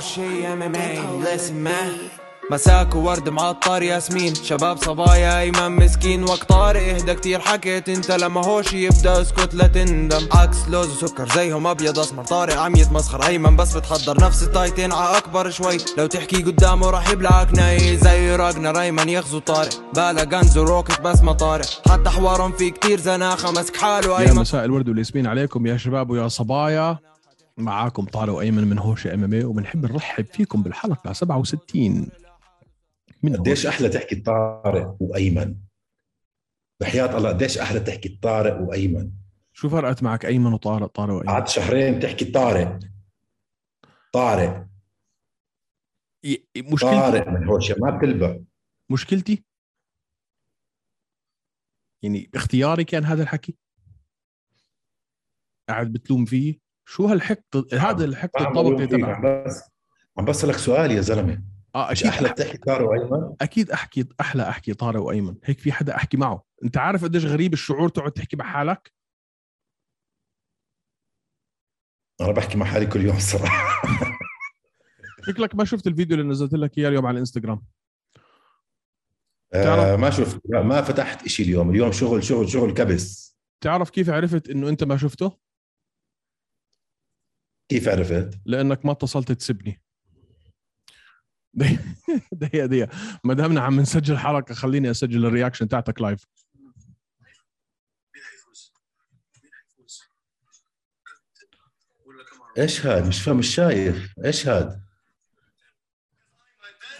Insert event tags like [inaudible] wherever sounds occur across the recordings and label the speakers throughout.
Speaker 1: شي ام ام اي listen man مساك وورد معطر ياسمين شباب صبايا ايمن مسكين وقت طارق اهدى كتير حكيت انت لما هوش يبدا اسكت لا تندم عكس لوز وسكر زيهم ابيض اسمر طارق عم يتمسخر ايمن بس بتحضر نفس التايتين ع اكبر شوي لو تحكي قدامه راح يبلعك ناي زي راجنا ريمان يغزو طارق بالا غنز وروكت بس ما طارق حتى حوارهم في كتير زناخه مسك حاله
Speaker 2: يا
Speaker 1: ايمن
Speaker 2: مساء الورد والياسمين عليكم يا شباب ويا صبايا معاكم طارق وايمن من هوشه ام ام اي إيه وبنحب نرحب فيكم بالحلقه 67 من
Speaker 3: قديش
Speaker 2: هوشة.
Speaker 3: احلى تحكي طارق وايمن بحياة الله قديش احلى تحكي طارق وايمن
Speaker 2: شو فرقت معك ايمن وطارق طارق وايمن
Speaker 3: قعدت شهرين تحكي طارق طارق
Speaker 2: ي- مشكلتي
Speaker 3: طارق من هوشه ما بتلبق
Speaker 2: مشكلتي يعني اختياري كان هذا الحكي قاعد بتلوم فيه شو هالحقد هذا الحقد
Speaker 3: ما عم بلوم
Speaker 2: الطبقي
Speaker 3: فيك،
Speaker 2: تبعك
Speaker 3: عم بس عم بسألك سؤال يا زلمة
Speaker 2: اه
Speaker 3: ايش
Speaker 2: اكيد
Speaker 3: احلى تحكي طارق وايمن
Speaker 2: اكيد احكي احلى احكي طارق وايمن هيك في حدا احكي معه انت عارف قديش غريب الشعور تقعد تحكي مع حالك
Speaker 3: انا بحكي مع حالي كل يوم صراحة
Speaker 2: شكلك ما شفت الفيديو اللي نزلت لك اياه اليوم على الانستغرام
Speaker 3: آه
Speaker 2: تعرف-
Speaker 3: ما شفت لا، ما فتحت اشي اليوم اليوم شغل شغل شغل كبس
Speaker 2: تعرف كيف عرفت انه انت ما شفته
Speaker 3: كيف عرفت؟
Speaker 2: لانك ما اتصلت تسبني [laughs] دقيقة- دقيقة دقيقة ما دامنا عم نسجل حلقة خليني اسجل الرياكشن تاعتك لايف
Speaker 3: ايش هاد؟ مش فاهم مش شايف ايش هاد؟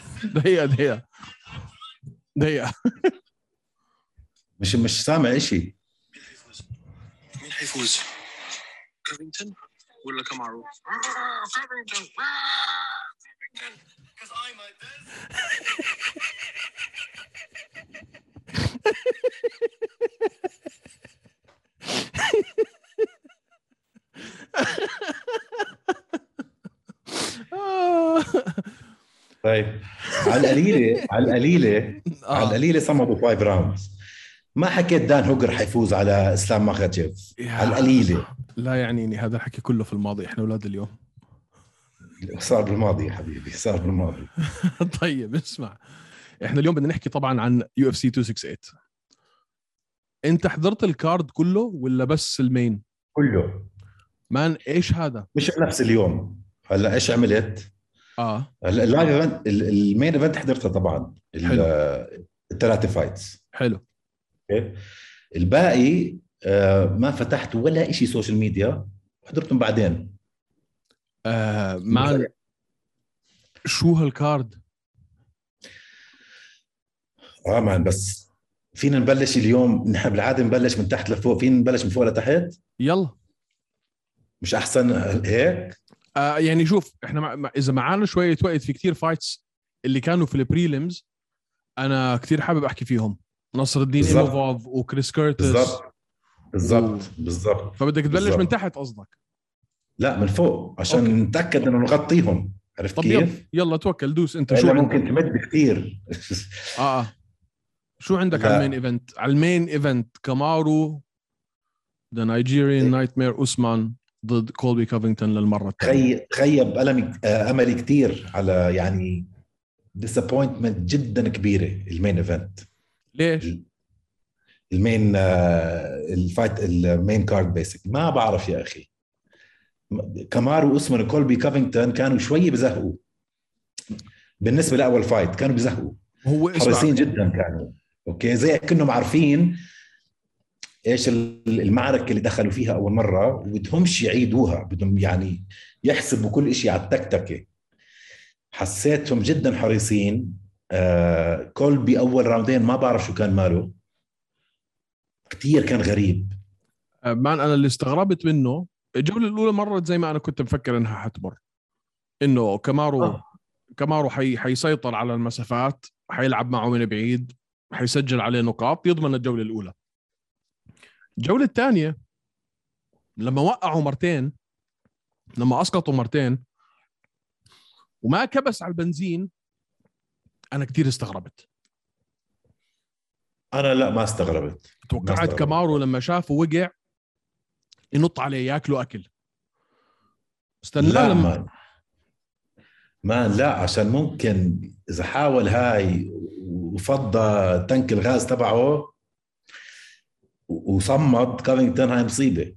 Speaker 2: [laughs] دقيقة دقيقة دقيقة
Speaker 3: مش مش سامع اشي
Speaker 4: مين حيفوز؟ كافينجتون ولا كامارو؟ كافينجتون
Speaker 2: آه.
Speaker 3: طيب على القليلة على القليلة [laughs] على
Speaker 2: آه.
Speaker 3: القليله صمدوا فايف راوندز ما حكيت دان هوجر حيفوز على اسلام ماخاتشيف
Speaker 2: يا.
Speaker 3: على القليله
Speaker 2: لا يعنيني هذا الحكي كله في الماضي احنا اولاد اليوم [laughs]
Speaker 3: صار بالماضي يا حبيبي صار بالماضي
Speaker 2: طيب اسمع احنا اليوم بدنا نحكي طبعا عن يو اف سي 268 انت حضرت الكارد كله ولا بس المين
Speaker 3: كله
Speaker 2: مان ايش هذا
Speaker 3: مش نفس اليوم هلا ايش عملت؟
Speaker 2: اه
Speaker 3: هلا اللايف ايفنت ال- المين ايفنت حضرتها طبعا ال-
Speaker 2: حلو.
Speaker 3: الثلاثه فايتس
Speaker 2: حلو
Speaker 3: أوكي؟ الباقي آه، ما فتحت ولا شيء سوشيال ميديا حضرتهم بعدين
Speaker 2: آه مان شو هالكارد
Speaker 3: اه مان بس فينا نبلش اليوم نحن بالعاده نبلش من تحت لفوق فينا نبلش من فوق لتحت
Speaker 2: يلا
Speaker 3: مش احسن هيك
Speaker 2: آه يعني شوف احنا مع... مع... اذا معانا شويه وقت في كتير فايتس اللي كانوا في البريليمز انا كتير حابب احكي فيهم نصر الدين
Speaker 3: بالظبط.
Speaker 2: ايموفوف وكريس كيرتس
Speaker 3: بالضبط بالضبط بالضبط
Speaker 2: فبدك تبلش
Speaker 3: بالظبط.
Speaker 2: من تحت قصدك
Speaker 3: لا من فوق
Speaker 2: أوكي.
Speaker 3: عشان نتاكد انه نغطيهم عرفت
Speaker 2: طب يلا
Speaker 3: كيف؟
Speaker 2: يلا توكل دوس انت شو
Speaker 3: إلا
Speaker 2: عندك
Speaker 3: ممكن تمد
Speaker 2: [laughs]
Speaker 3: كثير
Speaker 2: اه اه شو عندك
Speaker 3: لا.
Speaker 2: على المين ايفنت؟ على المين ايفنت كامارو ذا نايجيريان
Speaker 3: إيه.
Speaker 2: نايت مير اوسمان ضد كولبي كافينغتون للمره الثانيه
Speaker 3: خيب خيب ألمي آه، املي كثير على يعني ديسابوينتمنت جدا كبيره المين ايفنت
Speaker 2: ليش؟
Speaker 3: المين آه، الفايت المين كارد بيسك ما بعرف يا اخي م- كامارو واسمن كولبي كافينغتون كانوا شوي بزهقوا بالنسبه لاول فايت كانوا بزهقوا
Speaker 2: هو اسمع
Speaker 3: حريصين جدا كانوا اوكي زي كأنهم عارفين ايش ال- المعركه اللي دخلوا فيها اول مره وبدهمش يعيدوها بدهم يعني يحسبوا كل شيء على التكتكه حسيتهم جدا حريصين آه كول باول راوندين ما بعرف شو كان ماله كثير كان غريب
Speaker 2: مان انا اللي استغربت منه الجوله الاولى مرت زي ما انا كنت مفكر انها حتمر انه كامارو
Speaker 3: آه.
Speaker 2: كامارو حي... حيسيطر على المسافات حيلعب معه من بعيد حيسجل عليه نقاط يضمن الجوله الاولى الجوله الثانيه لما وقعوا مرتين لما اسقطوا مرتين وما كبس على البنزين انا كتير استغربت
Speaker 3: انا لا ما استغربت ما
Speaker 2: توقعت
Speaker 3: استغربت.
Speaker 2: كامارو لما شافه وقع ينط عليه ياكله اكل استنى
Speaker 3: لا
Speaker 2: لما
Speaker 3: مان ما لا عشان ممكن اذا حاول هاي وفضى تنك الغاز تبعه و- وصمد كارينجتون هاي مصيبه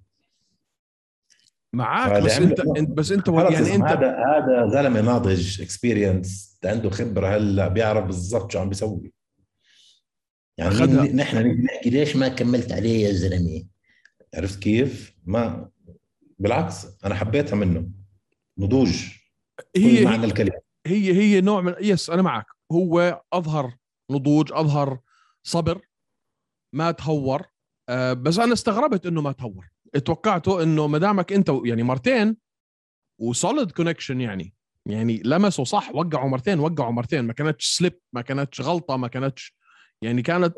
Speaker 2: معك
Speaker 3: هذا
Speaker 2: بس
Speaker 3: عمل-
Speaker 2: انت انت بس انت
Speaker 3: خلص
Speaker 2: يعني
Speaker 3: اسم
Speaker 2: انت
Speaker 3: هذا هذا زلمه ناضج اكسبيرينس عنده خبره هلا بيعرف بالضبط شو عم بيسوي يعني
Speaker 2: أخدها.
Speaker 3: مين- نحن نيجي نحكي ليش ما كملت عليه يا زلمه عرفت كيف؟ ما بالعكس انا حبيتها منه نضوج كل
Speaker 2: هي
Speaker 3: معنى الكلمه
Speaker 2: هي هي نوع من يس انا معك هو اظهر نضوج اظهر صبر ما تهور أه بس انا استغربت انه ما تهور توقعته انه ما دامك انت و- يعني مرتين وسوليد كونكشن يعني يعني لمسوا صح وقعوا مرتين وقعوا مرتين ما كانتش سليب ما كانتش غلطه ما كانتش يعني كانت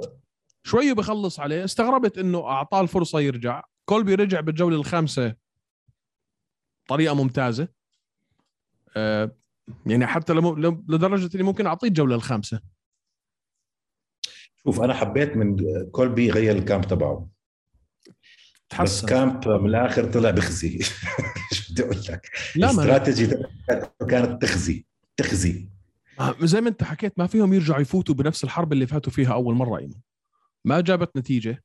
Speaker 2: شوي بخلص عليه استغربت انه اعطاه الفرصه يرجع كولبي رجع بالجوله الخامسه طريقه ممتازه أه يعني حتى لم... لم... لدرجه اني ممكن اعطيه الجوله الخامسه
Speaker 3: شوف انا حبيت من كولبي غير الكامب تبعه بس
Speaker 2: تحسن
Speaker 3: كامب من الاخر طلع بخزي [laughs] شو بدي اقول لك
Speaker 2: لا ما أنا-
Speaker 3: الاستراتيجي تبعته كانت تخزي تخزي
Speaker 2: ما- زي ما انت حكيت ما فيهم يرجعوا يفوتوا بنفس الحرب اللي فاتوا فيها اول مره ايمن ما جابت نتيجه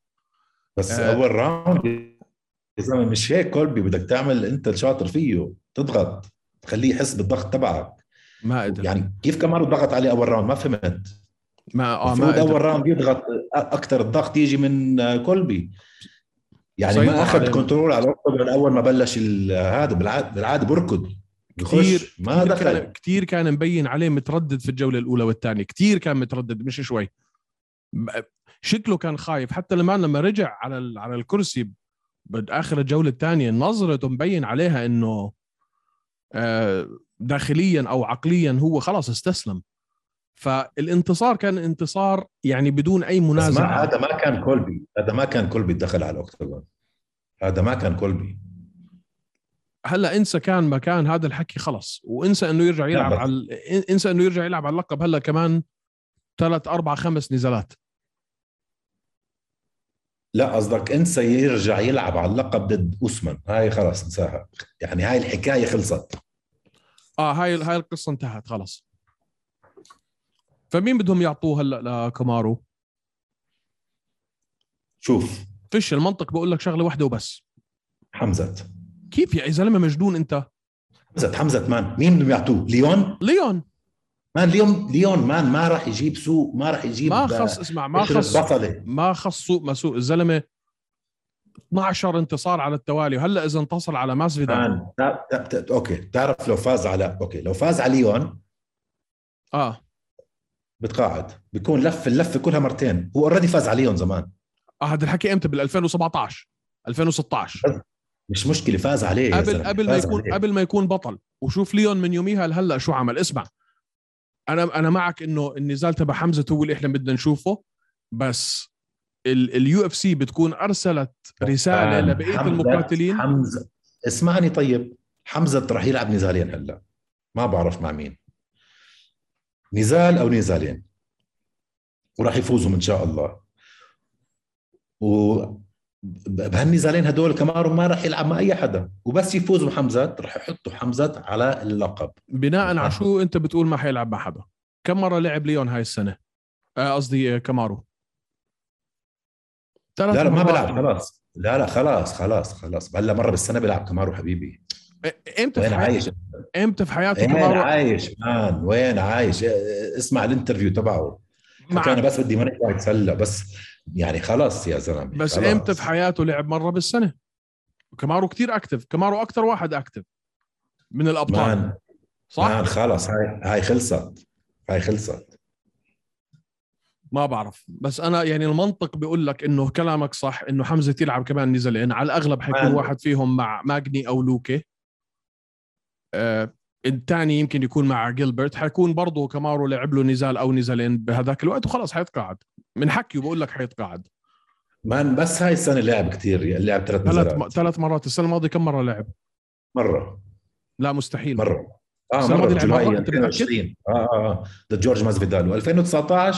Speaker 3: بس
Speaker 2: آه.
Speaker 3: آه. اول راوند يا زلمه مش هيك كولبي بدك تعمل انت الشاطر فيه تضغط تخليه يحس بالضغط تبعك
Speaker 2: ما قدر
Speaker 3: يعني كيف كمان ضغط عليه اول راوند ما فهمت
Speaker 2: ما اه ما
Speaker 3: المفروض اول
Speaker 2: قدر
Speaker 3: راوند يضغط اكثر الضغط يجي من آه، كولبي يعني
Speaker 2: سيطر
Speaker 3: ما
Speaker 2: عليه.
Speaker 3: اخذ كنترول على اكتوبر من اول ما بلش ال- آه، هذا بالعاده بالعاده بركض
Speaker 2: كتير-
Speaker 3: بخش ما
Speaker 2: كتير كان
Speaker 3: دخل
Speaker 2: كتير كان مبين عليه متردد في الجوله الاولى والثانيه كتير كان متردد مش شوي ب- شكله كان خايف حتى لما لما رجع على ال... على الكرسي باخر الجوله الثانيه نظرته مبين عليها انه آه، داخليا او عقليا هو خلاص استسلم فالانتصار كان انتصار يعني بدون اي
Speaker 3: بس ما
Speaker 2: منازع
Speaker 3: هذا ما كان كولبي هذا ما كان كولبي دخل على الاكتوبر هذا ما كان كولبي
Speaker 2: هلا انسى كان مكان هذا الحكي خلص وانسى انه يرجع يلعب
Speaker 3: بس.
Speaker 2: على ال- انسى انه يرجع يلعب على اللقب هلا كمان ثلاث اربع خمس نزالات
Speaker 3: لا قصدك انسى يرجع يلعب على اللقب ضد اوسمان هاي خلاص انساها يعني هاي الحكايه خلصت
Speaker 2: اه هاي هاي القصه انتهت خلص فمين بدهم يعطوه هلا لكامارو؟
Speaker 3: شوف
Speaker 2: فيش المنطق بقول لك شغله واحده وبس
Speaker 3: حمزه
Speaker 2: كيف يا زلمه مجنون انت
Speaker 3: حمزه حمزه مان مين بدهم يعطوه ليون
Speaker 2: ليون
Speaker 3: مان ليون ليون مان ما راح يجيب سوق ما راح يجيب
Speaker 2: ما خص اسمع ما
Speaker 3: يخرب
Speaker 2: خص
Speaker 3: بطله
Speaker 2: ما خص سوق ما سوق الزلمه 12 انتصار على التوالي وهلا اذا انتصر على ماسفيدال
Speaker 3: مان تا- تا- تا- اوكي تعرف لو فاز على اوكي لو فاز على ليون
Speaker 2: اه
Speaker 3: بتقاعد بيكون لف اللفه كلها مرتين هو اوريدي فاز على ليون زمان
Speaker 2: آه، هذا الحكي امتى بال 2017 2016
Speaker 3: مش مشكله فاز عليه يا
Speaker 2: قبل
Speaker 3: زلمة،
Speaker 2: قبل ما
Speaker 3: فاز
Speaker 2: يكون
Speaker 3: عليه.
Speaker 2: قبل ما يكون بطل وشوف ليون من يوميها لهلا شو عمل اسمع انا انا معك انه النزال تبع حمزه هو اللي احنا بدنا نشوفه بس اليو اف سي بتكون ارسلت رساله
Speaker 3: مان،
Speaker 2: لبقيه
Speaker 3: آه، حمزة-
Speaker 2: المقاتلين
Speaker 3: حمزه اسمعني طيب حمزه رح يلعب نزالين هلا ما بعرف مع مين نزال او نزالين وراح يفوزهم ان شاء الله و ب- بهالنزالين هدول كمارو ما راح يلعب مع اي حدا وبس يفوزوا حمزه راح يحطوا حمزه على اللقب
Speaker 2: بناء على
Speaker 3: آه.
Speaker 2: شو انت بتقول ما حيلعب مع حدا كم مره لعب ليون هاي السنه آه، قصدي آه، كامارو ثلاث
Speaker 3: لا لا ما
Speaker 2: مرات.
Speaker 3: بلعب خلاص لا لا خلاص خلاص خلاص هلا مره بالسنه بلعب كمارو حبيبي
Speaker 2: إ- امتى في حياته
Speaker 3: وين عايش
Speaker 2: امتى في حياته
Speaker 3: وين
Speaker 2: كامارو
Speaker 3: عايش مان وين عايش اسمع الانترفيو تبعه حكى انا
Speaker 2: مع-
Speaker 3: بس بدي مرة اتسلى بس يعني خلاص يا زلمه
Speaker 2: بس
Speaker 3: خلاص.
Speaker 2: امتى في حياته لعب مره بالسنه كامارو كتير اكتف كامارو اكثر واحد اكتف من الابطال
Speaker 3: مان
Speaker 2: صح
Speaker 3: مان خلاص هاي هاي خلصت هاي خلصت
Speaker 2: ما بعرف بس انا يعني المنطق بيقول لك انه كلامك صح انه حمزه يلعب كمان نزالين على الاغلب حيكون
Speaker 3: مان.
Speaker 2: واحد فيهم مع ماجني او لوكي آه الثاني يمكن يكون مع جيلبرت حيكون برضه كامارو لعب له نزال او نزالين بهذاك الوقت وخلاص حيتقاعد من حكيه بقول لك حيتقاعد
Speaker 3: مان بس هاي السنه لعب كثير لعب ثلاث
Speaker 2: ثلاث
Speaker 3: نزالات
Speaker 2: ثلاث مرات السنه الماضيه كم مره لعب
Speaker 3: مره
Speaker 2: لا مستحيل
Speaker 3: مره اه
Speaker 2: السنة
Speaker 3: مره
Speaker 2: الماضية لعب
Speaker 3: جولاي
Speaker 2: مرة، أنت متأكد؟
Speaker 3: 2020 اه اه آه. ضد جورج مازفيدال و2019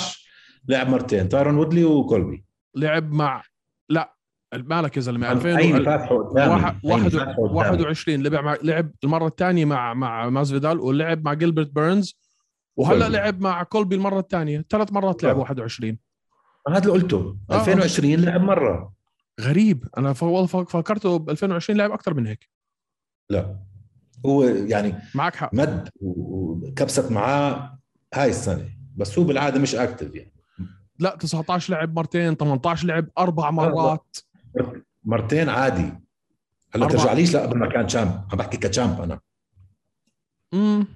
Speaker 3: لعب مرتين تايرون وودلي وكولبي
Speaker 2: لعب مع لا آه، مالك يا زلمه
Speaker 3: عيني
Speaker 2: 2000
Speaker 3: فاتحه قدامي
Speaker 2: واحد-
Speaker 3: عيني
Speaker 2: واحد-
Speaker 3: فاتحه قدامي
Speaker 2: 21 لعب مع لعب المره الثانيه مع مع مازفيدال ولعب مع جيلبرت بيرنز وهلا
Speaker 3: طيب.
Speaker 2: لعب مع كولبي المره الثانيه ثلاث مرات لعب
Speaker 3: طيب.
Speaker 2: 21
Speaker 3: هذا اللي قلته
Speaker 2: آه.
Speaker 3: 2020 لعب مره
Speaker 2: غريب انا ف- والله ف- فكرته ب 2020 لعب اكثر من هيك
Speaker 3: لا هو يعني
Speaker 2: معك حق
Speaker 3: مد و- وكبست معاه هاي السنه بس هو بالعاده مش اكتف يعني
Speaker 2: لا 19 لعب مرتين 18 لعب اربع مرات
Speaker 3: مرتين عادي هلا
Speaker 2: أربعة.
Speaker 3: بترجع ليش لا قبل ما كان شامب عم بحكي كشامب انا
Speaker 2: امم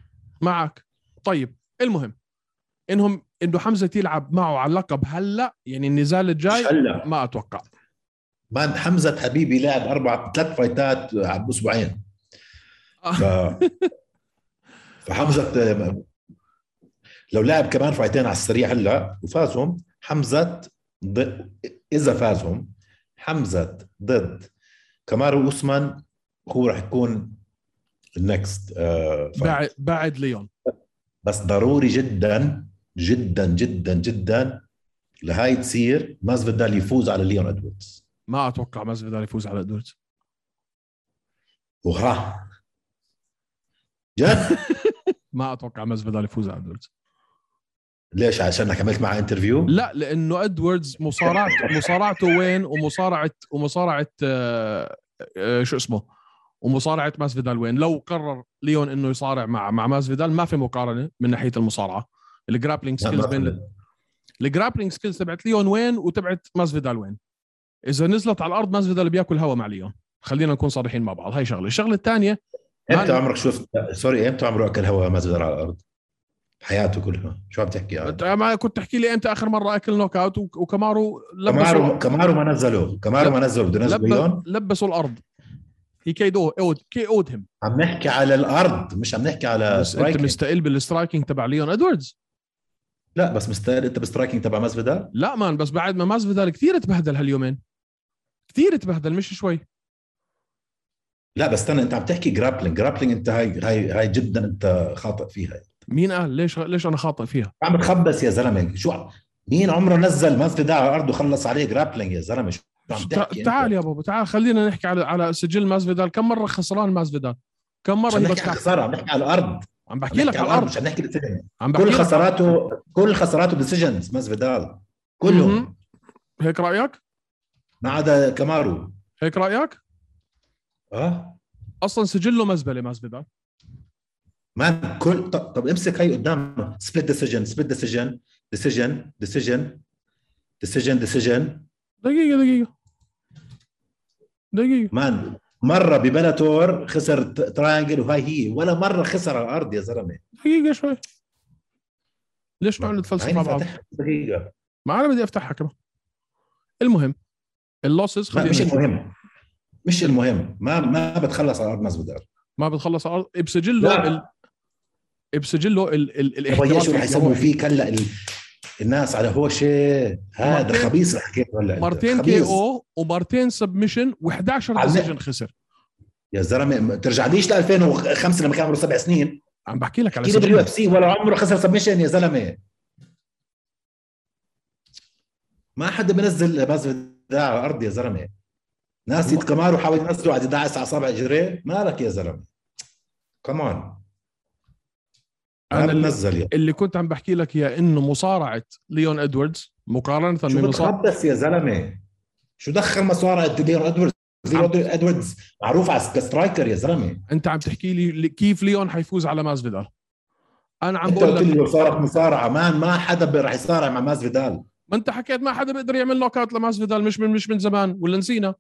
Speaker 2: معك طيب المهم انهم انه حمزه يلعب معه على اللقب هلا يعني النزال الجاي
Speaker 3: مش هلا
Speaker 2: ما اتوقع
Speaker 3: مان حمزه حبيبي لعب اربع ثلاث فايتات باسبوعين
Speaker 2: آه.
Speaker 3: ف... فحمزه آه، لو لعب كمان فايتين على السريع هلا وفازهم حمزه ضد اذا فازهم حمزه ضد كمارو اوسمان هو راح يكون النكست آه فايت.
Speaker 2: بعد بعد ليون
Speaker 3: بس ضروري جدا جدا جدا جدا لهاي تصير مازفيدال يفوز على ليون ادوردز
Speaker 2: ما اتوقع مازفيدال يفوز على ادوردز
Speaker 3: وها جد [laughs]
Speaker 2: ما اتوقع مازفيدال يفوز على ادوردز
Speaker 3: ليش عشان عملت معها انترفيو
Speaker 2: لا لانه ادواردز مصارعته مصارعته وين ومصارعه ومصارعه آه، آه، شو اسمه ومصارعه ماسفيدال وين لو قرر ليون انه يصارع مع مع ماسفيدال ما في مقارنه من ناحيه المصارعه الجرابلينج
Speaker 3: لا،
Speaker 2: سكيلز
Speaker 3: ما
Speaker 2: بين
Speaker 3: فهمت.
Speaker 2: الجرابلينج سكيلز تبعت ليون وين وتبعت ماسفيدال وين اذا نزلت على الارض ماسفيدال بياكل هوا مع ليون خلينا نكون صريحين مع بعض هاي شغله الشغله الثانيه ما
Speaker 3: امتى
Speaker 2: أنا-
Speaker 3: عمرك شفت سوري امتى عمره اكل هواء مازفيدال على الارض حياته كلها شو عم تحكي يعني؟
Speaker 2: كنت تحكي لي امتى اخر مره اكل نوك اوت وك- وكمارو لبسوا
Speaker 3: كمارو كمارو ما نزلوه كمارو ما نزلوه بده ينزل
Speaker 2: لب...
Speaker 3: ليون
Speaker 2: لبسوا الارض هي كيدوه اود كي اود هيم
Speaker 3: عم نحكي على الارض مش عم نحكي على
Speaker 2: بس انت
Speaker 3: سترايكينج
Speaker 2: مستقل بالسترايكنج تبع ليون ادواردز
Speaker 3: لا بس مستاهل انت بالسترايكينج تبع مازفيدال
Speaker 2: لا مان بس بعد ما مازفيدال كثير تبهدل هاليومين كثير تبهدل مش شوي
Speaker 3: لا بس استنى انت عم تحكي جرابلينج جرابلينج انت هاي هاي هاي جدا انت خاطئ فيها
Speaker 2: مين قال ليش ليش انا خاطئ فيها
Speaker 3: عم بتخبص يا زلمه شو عم- مين عمره نزل مانث ده على الارض وخلص عليه جرابلينج يا زلمه شو عم تحكي
Speaker 2: تع- تعال
Speaker 3: انت؟
Speaker 2: يا بابا تعال خلينا نحكي على على سجل مازفيدال كم مره خسران مازفيدال كم مره
Speaker 3: مش عم نحكي
Speaker 2: يبكى
Speaker 3: على الخساره عم نحكي على الارض
Speaker 2: عم
Speaker 3: عم
Speaker 2: بحكي
Speaker 3: نحكي
Speaker 2: لك على الارض
Speaker 3: مش عم نحكي بالسجن
Speaker 2: عم بحكي
Speaker 3: كل
Speaker 2: لك
Speaker 3: خساراته كل خساراته ديسيجنز ماسفيدال كلهم
Speaker 2: مهم. هيك رايك
Speaker 3: ما عدا كامارو
Speaker 2: هيك رايك
Speaker 3: اه
Speaker 2: اصلا سجله مزبله مازفيدال
Speaker 3: ما كل طب, طب امسك هي قدامك سبليت ديسيجن سبليت ديسيجن ديسيجن ديسيجن ديسيجن ديسيجن
Speaker 2: دقيقه دقيقه دقيقه
Speaker 3: مان مره ببلاتور خسر ترانجل وهاي هي ولا مره خسر على الارض يا زلمه
Speaker 2: دقيقه شوي ليش نقعد نتفلسف مع
Speaker 3: عيني
Speaker 2: بعض
Speaker 3: فاتحها دقيقه
Speaker 2: ما انا بدي افتحها كمان المهم اللوسز
Speaker 3: لا، مش
Speaker 2: خلينا نشوف.
Speaker 3: المهم مش المهم ما ما بتخلص على ارض ماسفيدال
Speaker 2: ما بتخلص على الأرض. بسجله
Speaker 3: لا.
Speaker 2: ال... بسجله ال... ال...
Speaker 3: يا شو رح يسووا
Speaker 2: الاحتراف
Speaker 3: فيك هلا ال- الناس على هوشه هذا
Speaker 2: مرتين-
Speaker 3: خبيث رح حكيت هلا أنت.
Speaker 2: مرتين كي
Speaker 3: خبيث.
Speaker 2: او ومرتين سبمشن و11
Speaker 3: عم-
Speaker 2: ديسيجن خسر
Speaker 3: يا زلمه ما ترجعليش ل 2005 لما كان عمره سبع سنين
Speaker 2: عم بحكي لك على
Speaker 3: كيف باليو
Speaker 2: سجله
Speaker 3: اف سي ولا عمره خسر سبمشن يا زلمه ما حدا بنزل ماسفيدال على الارض يا زلمه ناس يتكماروا حاول ينزلوا على 11 على اصابع اجريه مالك يا زلمه كمان ما
Speaker 2: انا اللي-
Speaker 3: بنزل يا
Speaker 2: اللي كنت عم بحكي لك يا انه مصارعه ليون ادواردز مقارنه
Speaker 3: شو
Speaker 2: بمصارعه
Speaker 3: بتخبص يا زلمه شو دخل مصارع ديلير ادوردز ديلير ادوردز معروف على كسترايكر يا زلمه
Speaker 2: انت عم تحكي لي لي كيف ليون حيفوز على مازفيدال انا عم
Speaker 3: انت
Speaker 2: بقول
Speaker 3: قلت
Speaker 2: لك
Speaker 3: لي لو صارت مصارعه مان ما حدا ب- رح يصارع مع ماز فيدال
Speaker 2: ما انت حكيت ما حدا بيقدر يعمل نوك اوت لمازفيدال مش من مش من زمان ولا نسينا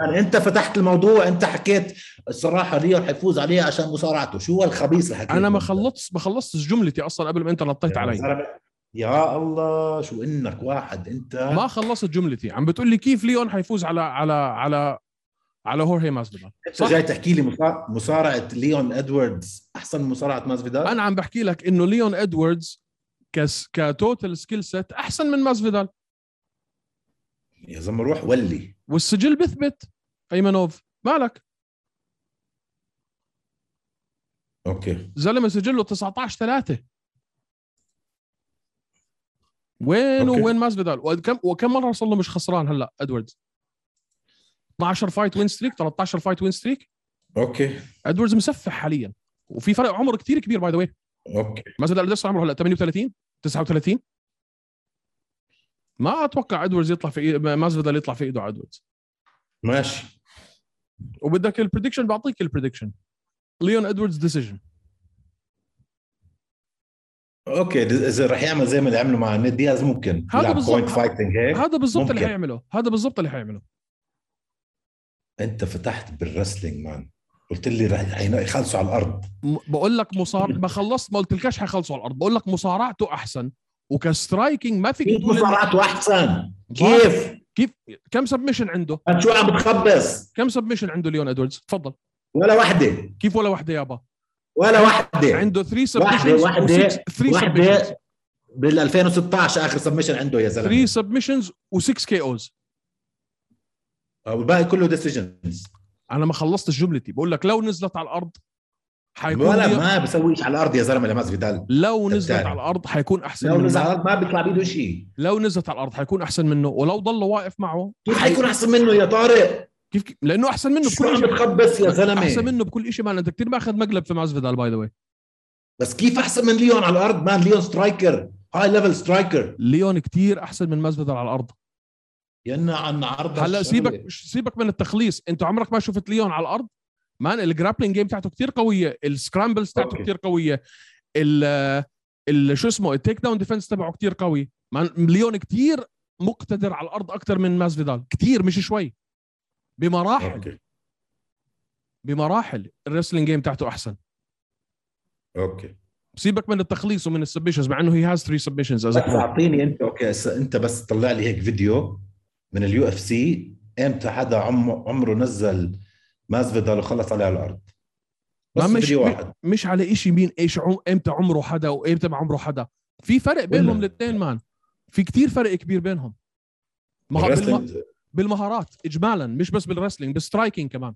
Speaker 3: يعني انت فتحت الموضوع انت حكيت الصراحه ليون حيفوز عليه عشان مصارعته شو هالخبيث اللي حكيته
Speaker 2: انا ما خلصت ما خلصتش جملتي اصلا قبل ما انت نطيت
Speaker 3: يا
Speaker 2: علي
Speaker 3: زلمة، يا الله شو انك واحد انت
Speaker 2: ما خلصت جملتي عم بتقول لي كيف ليون حيفوز على على على على هورهي مازفيدال
Speaker 3: انت
Speaker 2: صح.
Speaker 3: جاي تحكي لي مصا- مصارعه ليون ادوردز احسن من مصارعه ماز فيدال
Speaker 2: انا عم بحكي لك انه ليون ادواردز كس كتوتال سكيل سيت احسن من مازفيدال
Speaker 3: يا زلمه روح ولي
Speaker 2: والسجل بثبت ايمنوف مالك
Speaker 3: اوكي
Speaker 2: زلمه سجله 19 3 وين
Speaker 3: أوكي.
Speaker 2: وين مازفيدال وكم وكم مره صار له مش خسران هلا ادواردز 12 فايت وين ستريك 13 فايت وين ستريك
Speaker 3: اوكي
Speaker 2: ادوردز مسفح حاليا وفي فرق عمر كتير كبير باي ذا واي
Speaker 3: اوكي
Speaker 2: مثلا ادوردز عمره هلا 38 39 ما اتوقع ادوردز يطلع في إيه- ما- مازفيدال يطلع في ايده على ادوردز
Speaker 3: ماشي
Speaker 2: وبدك البريدكشن بعطيك البريدكشن ليون ادوردز ديسيجن
Speaker 3: اوكي اذا رح يعمل زي ما اللي عمله مع نيد دياز ممكن
Speaker 2: هذا
Speaker 3: يلعب
Speaker 2: بالضبط.
Speaker 3: بوينت فايتنج هيك
Speaker 2: هذا بالضبط اللي
Speaker 3: إيه، ممكن.
Speaker 2: حيعمله هذا بالضبط اللي حيعمله
Speaker 3: انت فتحت بالرسلينج مان قلت لي رح حين- يخلصوا على الارض
Speaker 2: م- بقول لك مصار ما خلصت ما قلتلكش حيخلصوا على الارض بقول لك مصارعته احسن وكسترايكنج ما فيك
Speaker 3: كيف
Speaker 2: تقول إنه-
Speaker 3: مصارعته احسن إيه كيف
Speaker 2: كم سبمشن عنده
Speaker 3: انت شو عم بتخبص
Speaker 2: كم سبمشن عنده ليون ادوردز تفضل
Speaker 3: ولا وحده
Speaker 2: كيف ولا وحده يابا
Speaker 3: ولا وحده
Speaker 2: عنده 3
Speaker 3: وحده
Speaker 2: سبمشن
Speaker 3: وحده
Speaker 2: 3 سبمشنز
Speaker 3: وحده بال 2016 اخر سبمشن عنده يا
Speaker 2: 3
Speaker 3: زلمه
Speaker 2: سبمشنز و6 كي اوز
Speaker 3: والباقي كله ديسيجنز
Speaker 2: انا ما خلصتش جملتي بقول لك لو نزلت على الارض حيكون
Speaker 3: ولا
Speaker 2: ليون-
Speaker 3: ما بسويش على الارض يا زلمه لماس فيدال
Speaker 2: لو نزلت
Speaker 3: التاني.
Speaker 2: على الارض حيكون احسن
Speaker 3: لو
Speaker 2: منه
Speaker 3: نزل على الارض ما بيطلع بايده شيء
Speaker 2: لو نزلت على الارض حيكون احسن منه ولو ضل واقف معه
Speaker 3: كيف حيكون احسن منه يا طارق
Speaker 2: كيف كيف- لانه احسن منه
Speaker 3: شو
Speaker 2: بكل
Speaker 3: عم
Speaker 2: شيء
Speaker 3: بتخبص يا
Speaker 2: احسن
Speaker 3: زلمه
Speaker 2: منه بكل شيء ما انت كثير ماخذ مقلب في مازفيدال باي ذا واي
Speaker 3: بس كيف احسن من ليون على الارض مان ليون سترايكر هاي ليفل سترايكر
Speaker 2: ليون كتير احسن من مازفيدال على الارض
Speaker 3: ينا عن عرض
Speaker 2: هلا سيبك سيبك من التخليص انت عمرك ما شفت ليون على الارض مان الجرابلينج جيم تاعته كتير قويه السكرامبلز تاعته
Speaker 3: أوكي.
Speaker 2: كتير قويه ال ال شو اسمه التيك داون ديفنس تبعه كتير قوي مان ليون كتير مقتدر على الارض اكثر من مازفيدال كتير مش شوي بمراحل
Speaker 3: اوكي
Speaker 2: بمراحل الرسلينج جيم تاعته احسن
Speaker 3: اوكي
Speaker 2: سيبك من التخليص ومن السبشنز مع انه هي هاز 3 سبشنز
Speaker 3: [laughs] بس اعطيني انت اوكي هسا انت بس طلع لي هيك فيديو من اليو اف سي امتى حدا عمره عمره نزل مازفيدال وخلص عليه على الارض بس
Speaker 2: ما مش-
Speaker 3: فيديو واحد
Speaker 2: مش على إشي مين ايش عم... امتى عمره حدا وامتى ما عمره حدا في فرق بينهم
Speaker 3: ولا.
Speaker 2: الاثنين مان في كتير فرق كبير بينهم مه... بالم...
Speaker 3: الرسلينج-
Speaker 2: بالمهارات اجمالا مش بس بالرسلينج بالسترايكينج كمان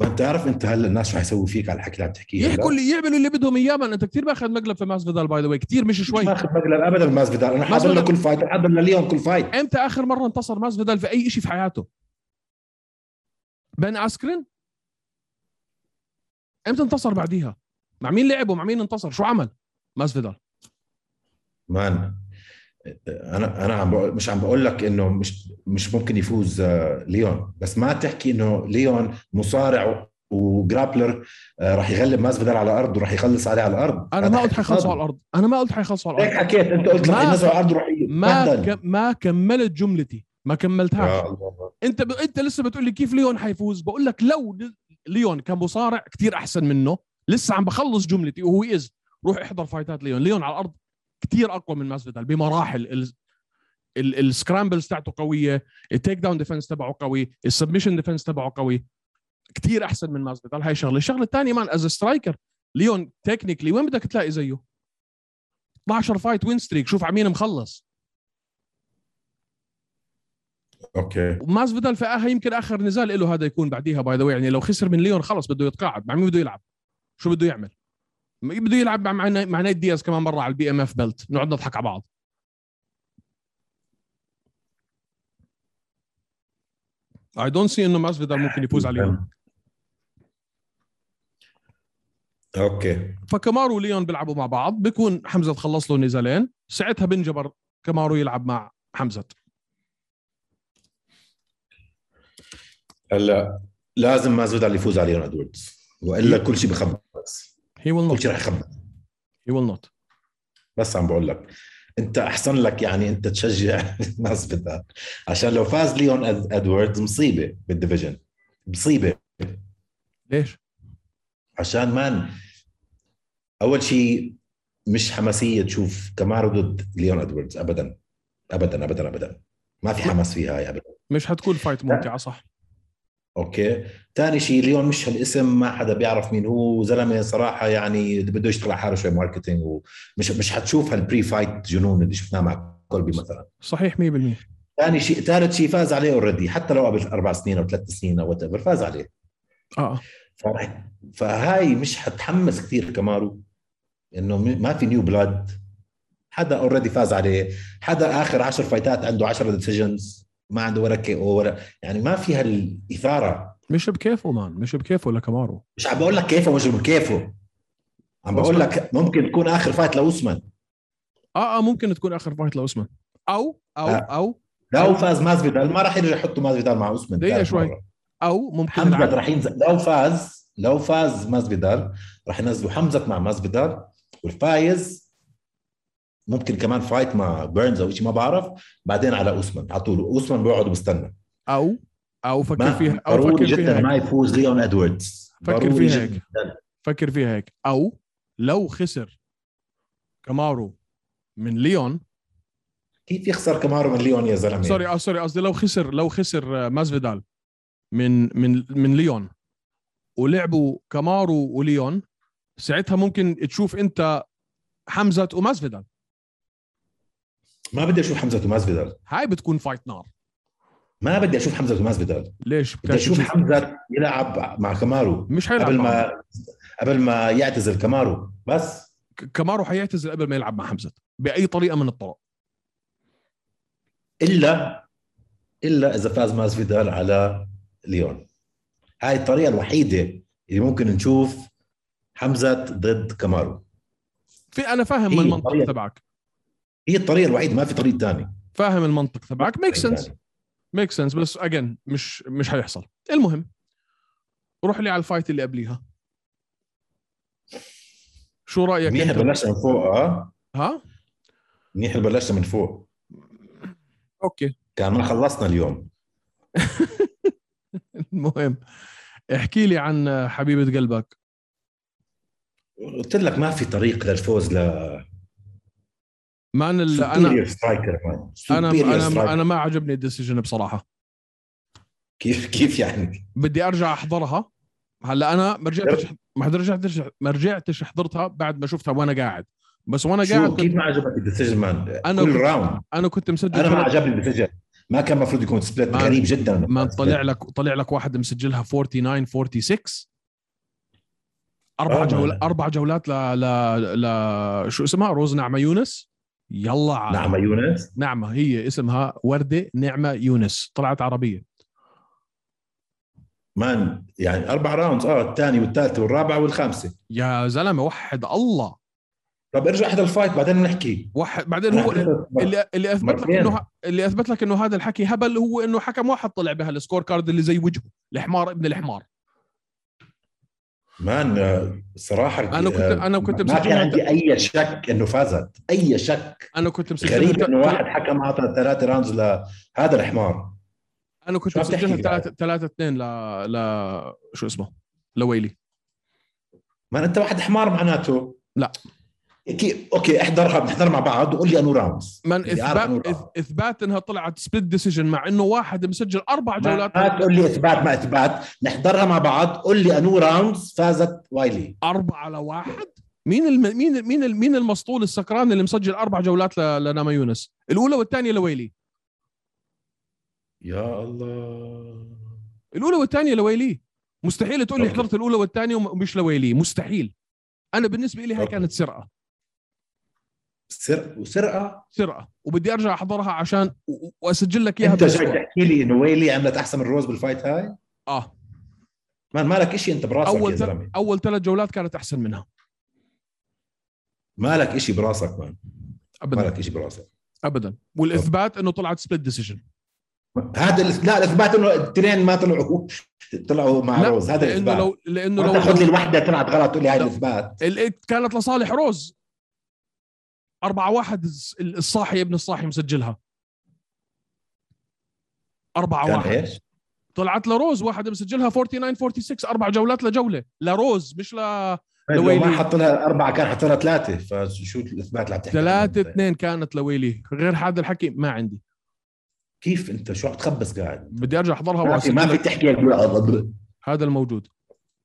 Speaker 3: ما بتعرف انت هلا الناس شو حيسوي فيك على الحكي اللي عم تحكيه
Speaker 2: يحكوا
Speaker 3: هلا؟
Speaker 2: اللي يعملوا اللي بدهم اياه مان انت كتير ماخذ مقلب في ماسفيدال باي ذا واي كتير مش شوي
Speaker 3: مش ماخذ مقلب ابدا مازفيدال انا حاضر له
Speaker 2: مازفيدال-
Speaker 3: كل فايت حاضر لليوم كل فايت
Speaker 2: امتى اخر مره انتصر ماسفيدال في اي إشي في حياته بن اسكرين امتى انتصر بعديها مع مين لعب ومع مين انتصر شو عمل ماسفيدال
Speaker 3: مان انا انا عم بقول مش عم بقول لك انه مش مش ممكن يفوز آه، ليون بس ما تحكي انه ليون مصارع وجرابلر آه، رح يغلب مازفيدال على الارض وراح يخلص عليه على الارض
Speaker 2: انا
Speaker 3: هذا
Speaker 2: ما قلت
Speaker 3: حكي
Speaker 2: حيخلصوا
Speaker 3: فاضي.
Speaker 2: على الارض انا ما قلت حيخلصوا على الارض
Speaker 3: هيك حكيت انت قلت رح
Speaker 2: ما-
Speaker 3: ينزلوا على الارض وراح
Speaker 2: ما
Speaker 3: يتبهدل.
Speaker 2: كم ما كملت جملتي ما كملتهاش
Speaker 3: يا الله.
Speaker 2: انت ب... انت لسه بتقول لي كيف ليون حيفوز بقول لك لو ل- ليون كمصارع كتير احسن منه لسه عم بخلص جملتي وهو از روح احضر فايتات ليون ليون على الارض كتير اقوى من ماسفيدال بمراحل ال... ال... السكرامبلز تاعته قويه التيك داون ديفنس تبعه قوي السبمشن ديفنس تبعه قوي كتير احسن من ماسفيدال هاي شغله الشغله الثانيه مان از سترايكر ليون تكنيكلي وين بدك تلاقي زيه 12 فايت وين ستريك شوف عمين مخلص
Speaker 3: اوكي
Speaker 2: وماسفيدال في اخر يمكن اخر نزال له هذا يكون بعديها باي ذا يعني لو خسر من ليون خلص بده يتقاعد مع مين بده يلعب؟ شو بده يعمل؟ م- بده يلعب مع مع, نا- مع نايت دياز كمان مره على البي ام اف بيلت نقعد نضحك على بعض اي دونت سي انه ماسفيدال ممكن يفوز على ليون
Speaker 3: اوكي
Speaker 2: فكمارو وليون بيلعبوا مع بعض بيكون حمزه خلص له نزالين ساعتها بنجبر كمارو يلعب مع حمزه
Speaker 3: هلا لازم مازفيدال يفوز على ليون ادوردز والا كل شيء بخبص
Speaker 2: هي ويل
Speaker 3: كل
Speaker 2: نوت
Speaker 3: شيء رح يخبص
Speaker 2: هي ويل نوت
Speaker 3: بس عم بقول لك انت احسن لك يعني انت تشجع [laughs] الناس بدها عشان لو فاز ليون أد- ادواردز مصيبه بالديفيجن مصيبه
Speaker 2: ليش؟
Speaker 3: عشان مان اول شيء مش حماسيه تشوف كمارو ضد ليون ادواردز ابدا ابدا ابدا ابدا ما في حماس فيها هاي ابدا
Speaker 2: مش حتكون فايت ممتعه صح
Speaker 3: اوكي ثاني شيء ليون مش هالاسم ما حدا بيعرف مين هو زلمه صراحه يعني بده يشتغل على حاله شوي ماركتينج ومش مش حتشوف هالبري فايت جنون اللي شفناه مع كولبي مثلا
Speaker 2: صحيح 100%
Speaker 3: ثاني شيء ثالث شيء فاز عليه اوريدي حتى لو قبل اربع سنين او ثلاث سنين او وات ايفر فاز عليه
Speaker 2: اه آه.
Speaker 3: فرح- فهاي مش حتحمس كثير كمارو انه م- ما في نيو بلاد حدا اوريدي فاز عليه حدا اخر 10 فايتات عنده 10 ديسيجنز ما عنده ولا كي او ولا يعني ما في هالاثاره
Speaker 2: مش بكيفه مان مش بكيفه لكامارو
Speaker 3: مش عم بقول لك كيفه مش كيفه عم بقول لك ممكن تكون اخر فايت لاوسمان
Speaker 2: اه اه ممكن تكون اخر فايت لاوسمان او او
Speaker 3: آه.
Speaker 2: او
Speaker 3: لو فاز مازفيدال ما راح يرجع يحطوا مازفيدال مع اوسمان
Speaker 2: دقيقة
Speaker 3: ثالث
Speaker 2: شوي.
Speaker 3: مرة.
Speaker 2: او ممكن
Speaker 3: حمزه
Speaker 2: العكس.
Speaker 3: راح ينزل لو فاز لو فاز مازفيدال راح ينزلوا حمزه مع مازفيدال والفايز ممكن كمان فايت مع بيرنز او شيء ما بعرف بعدين على اوسمان على طول اوسمان بيقعد بيستنى
Speaker 2: او او فكر
Speaker 3: ما
Speaker 2: فيها او
Speaker 3: ضروري
Speaker 2: فكر فيها
Speaker 3: جدا
Speaker 2: هيك.
Speaker 3: ما يفوز ليون ادواردز
Speaker 2: فكر
Speaker 3: ضروري
Speaker 2: فيها
Speaker 3: جداً.
Speaker 2: فكر فيها هيك او لو خسر كامارو من ليون
Speaker 3: كيف يخسر كمارو من ليون يا زلمه
Speaker 2: سوري اه سوري قصدي لو خسر لو خسر آه، مازفيدال من من من ليون ولعبوا كامارو وليون ساعتها ممكن تشوف انت حمزه ومازفيدال
Speaker 3: ما بدي اشوف حمزه ومازفيدال
Speaker 2: هاي بتكون فايت نار
Speaker 3: ما بدي اشوف حمزه ومازفيدال
Speaker 2: ليش
Speaker 3: بدي اشوف حمزه يلعب مع كمارو
Speaker 2: مش حيلعب
Speaker 3: قبل
Speaker 2: معه.
Speaker 3: ما قبل ما يعتزل كمارو بس
Speaker 2: ك- كامارو حيعتزل قبل ما يلعب مع حمزه باي طريقه من الطرق
Speaker 3: الا الا اذا فاز مازفيدال على ليون هاي الطريقه الوحيده اللي ممكن نشوف حمزه ضد كمارو
Speaker 2: في انا
Speaker 3: هي
Speaker 2: فاهم المنطق
Speaker 3: إيه، طريقة.
Speaker 2: تبعك
Speaker 3: هي الطريقه الوحيده ما في طريق ثاني
Speaker 2: فاهم المنطق تبعك ميك سنس
Speaker 3: يعني.
Speaker 2: ميك سنس بس اجين مش مش حيحصل المهم روح لي على الفايت اللي قبليها شو رايك
Speaker 3: منيح
Speaker 2: أنت؟
Speaker 3: بلشنا من فوق اه
Speaker 2: ها
Speaker 3: منيح بلشنا من فوق
Speaker 2: اوكي
Speaker 3: كان ما خلصنا اليوم
Speaker 2: [laughs] المهم احكي لي عن حبيبه قلبك
Speaker 3: قلت لك ما في طريق للفوز ل
Speaker 2: مان ال- انا
Speaker 3: سوبيريور سترايكر مان
Speaker 2: انا
Speaker 3: Superior striker.
Speaker 2: انا انا ما عجبني الديسيجن بصراحه
Speaker 3: كيف كيف يعني
Speaker 2: بدي ارجع احضرها هلا انا ما رجعتش ما رجعتش ما رجعتش حضرتها بعد ما شفتها وانا قاعد بس وانا قاعد
Speaker 3: شو
Speaker 2: كنت
Speaker 3: كيف ما عجبك الديسيجن مان
Speaker 2: أنا
Speaker 3: كل
Speaker 2: كنت-
Speaker 3: راوند
Speaker 2: انا كنت مسجل
Speaker 3: انا ما
Speaker 2: ثلاث-
Speaker 3: عجبني الديسيجن ما كان المفروض يكون سبليت
Speaker 2: ما-
Speaker 3: غريب جدا
Speaker 2: ما طلع لك طلع لك واحد مسجلها 49 46 اربع
Speaker 3: آه،
Speaker 2: جول
Speaker 3: ما-
Speaker 2: اربع جولات ل ل ل شو اسمها روز نعمه يونس يلا على
Speaker 3: نعم يونس
Speaker 2: نعمه هي اسمها ورده نعمه يونس طلعت عربيه
Speaker 3: مان يعني اربع راوندز اه الثاني والثالث والرابع والخامسه
Speaker 2: يا زلمه وحد الله
Speaker 3: طب ارجع احضر الفايت بعدين بنحكي
Speaker 2: وحد بعدين هو اللي اللي اثبت لك
Speaker 3: مرتين.
Speaker 2: انه ه- اللي اثبت لك انه هذا الحكي هبل هو انه حكم واحد طلع بهالسكور كارد اللي زي وجهه الحمار ابن الحمار
Speaker 3: مان آه، الصراحه
Speaker 2: أنا كنت-
Speaker 3: آه،
Speaker 2: أنا كنت
Speaker 3: ما كان
Speaker 2: مسجلها-
Speaker 3: عندي اي شك انه فازت اي شك
Speaker 2: انا كنت مسجلها
Speaker 3: غريب
Speaker 2: تل-
Speaker 3: انه
Speaker 2: تل-
Speaker 3: واحد حكم اعطى ثلاثه راوندز لهذا الحمار
Speaker 2: انا كنت
Speaker 3: شو عم تحكي
Speaker 2: مسجلها
Speaker 3: قاعد؟
Speaker 2: 3 3 2 ل ل شو اسمه لويلي
Speaker 3: ما انت واحد حمار معناته
Speaker 2: لا.
Speaker 3: كي... اوكي احضرها بنحضر مع بعض وقول لي انو راوندز
Speaker 2: من
Speaker 3: بدي أعرف أنو
Speaker 2: اثبات
Speaker 3: راوندز.
Speaker 2: إث- اثبات انها طلعت سبليت ديسيجن مع انه واحد مسجل اربع
Speaker 3: ما
Speaker 2: جولات
Speaker 3: ما تقول لي اثبات ما اثبات نحضرها مع بعض قول لي انو راوندز فازت وايلي
Speaker 2: أربعة على واحد مين الم... مين ال... مين ال... مين المسطول السكران اللي مسجل اربع جولات ل... لناما يونس الاولى والثانيه لويلي
Speaker 3: يا الله
Speaker 2: الاولى والثانيه لويلي مستحيل تقول لي
Speaker 3: أوكي.
Speaker 2: حضرت الاولى والثانيه وم- ومش لويلي مستحيل انا بالنسبه لي هاي
Speaker 3: أوكي.
Speaker 2: كانت سرقه
Speaker 3: سرقه وسرقه
Speaker 2: سرقه وبدي ارجع احضرها عشان و... و- واسجل لك اياها
Speaker 3: انت جاي
Speaker 2: بالأسبوع.
Speaker 3: تحكي لي انه ويلي عملت احسن من روز بالفايت هاي
Speaker 2: اه
Speaker 3: مان مالك شيء انت براسك
Speaker 2: أول
Speaker 3: يا
Speaker 2: تل-
Speaker 3: زلمه
Speaker 2: اول ثلاث جولات كانت احسن منها
Speaker 3: مالك شيء براسك مان
Speaker 2: ابدا
Speaker 3: مالك شيء براسك
Speaker 2: ابدا والاثبات انه طلعت سبليت ديسيجن
Speaker 3: هذا الاث- لا الاثبات انه الاثنين ما طلعوا طلعوا مع
Speaker 2: لا،
Speaker 3: روز هذا
Speaker 2: لانه
Speaker 3: الاثبات
Speaker 2: لو لانه
Speaker 3: ما
Speaker 2: لو,
Speaker 3: تاخذ لي
Speaker 2: لو
Speaker 3: الوحده طلعت غلط تقول لي هاي
Speaker 2: لا.
Speaker 3: الاثبات
Speaker 2: ال- كانت لصالح روز أربعة واحد الس- الصاحي ابن الصاحي مسجلها أربعة
Speaker 3: كان
Speaker 2: واحد
Speaker 3: ايش؟
Speaker 2: طلعت لروز واحد مسجلها 49 46 أربع جولات لجولة لروز مش ل
Speaker 3: لو
Speaker 2: لويلي.
Speaker 3: ما حط لها اربعه كان حط لها ثلاثه فشو الاثبات اللي عم تحكي عنه
Speaker 2: ثلاثة
Speaker 3: أنت؟
Speaker 2: اثنين كانت لويلي غير هذا الحكي ما عندي
Speaker 3: كيف انت شو عم تخبص قاعد؟
Speaker 2: بدي أرجع أحضرها
Speaker 3: ما في, ما في
Speaker 2: وأسجل
Speaker 3: تحكي هيك.
Speaker 2: هذا الموجود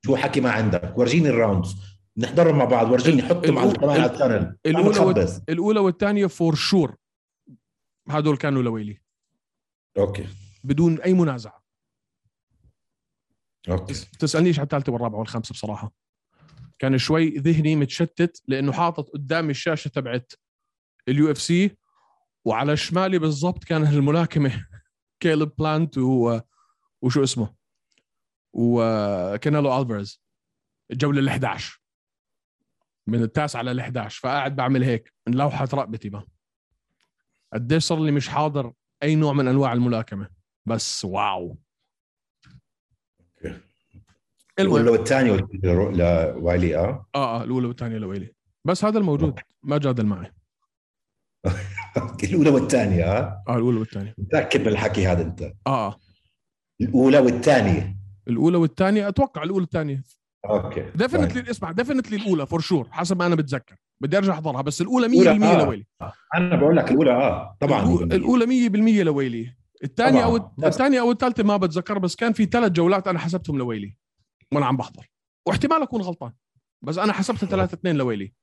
Speaker 3: شو حكي ما عندك ورجيني الراوندز نحضرهم مع بعض ورجيني حطهم على
Speaker 2: الأولى-
Speaker 3: كمان على التانل عم
Speaker 2: الأولى وال-
Speaker 3: تخبص
Speaker 2: الأولى والثانية فور شور هذول كانوا لويلي
Speaker 3: اوكي
Speaker 2: بدون أي منازعة
Speaker 3: اوكي
Speaker 2: تس- تسالنيش على الثالثه والرابعه والخامسه بصراحه كان شوي ذهني متشتت لانه حاطط قدامي الشاشه [laughs] تبعت اليو اف سي وعلى شمالي بالضبط كان الملاكمه كيلب بلانت و... وشو اسمه وكانيلو الفاريز الجوله ال 11 من التاسعه لل 11 فقاعد بعمل هيك من لوحه رقبتي ما قديش صار لي مش حاضر اي نوع من انواع الملاكمه بس واو المهم
Speaker 3: الاولى والثانيه والثالثة لوالي اه
Speaker 2: اه اه الاولى والثانيه لويلي بس هذا الموجود ما جادل معي
Speaker 3: الاولى والثانيه اه
Speaker 2: اه الاولى والثانيه
Speaker 3: متاكد من الحكي هذا انت
Speaker 2: اه آه.
Speaker 3: الاولى والثانيه
Speaker 2: الاولى والثانيه اتوقع الاولى والثانيه
Speaker 3: اوكي
Speaker 2: ديفنتلي اسمع ديفنتلي الاولى فور شور حسب ما انا بتذكر بدي ارجع احضرها بس الاولى 100%
Speaker 3: آه.
Speaker 2: لويلي
Speaker 3: انا بقول لك الاولى اه طبعا
Speaker 2: الأولى- الاولى 100% لويلي الثانيه او
Speaker 3: طبعاً. نعم.
Speaker 2: الثانيه او الثالثه ما بتذكر بس كان في ثلاث جولات انا حسبتهم لويلي وانا عم بحضر واحتمال اكون غلطان بس انا حسبتها 3 2 لويلي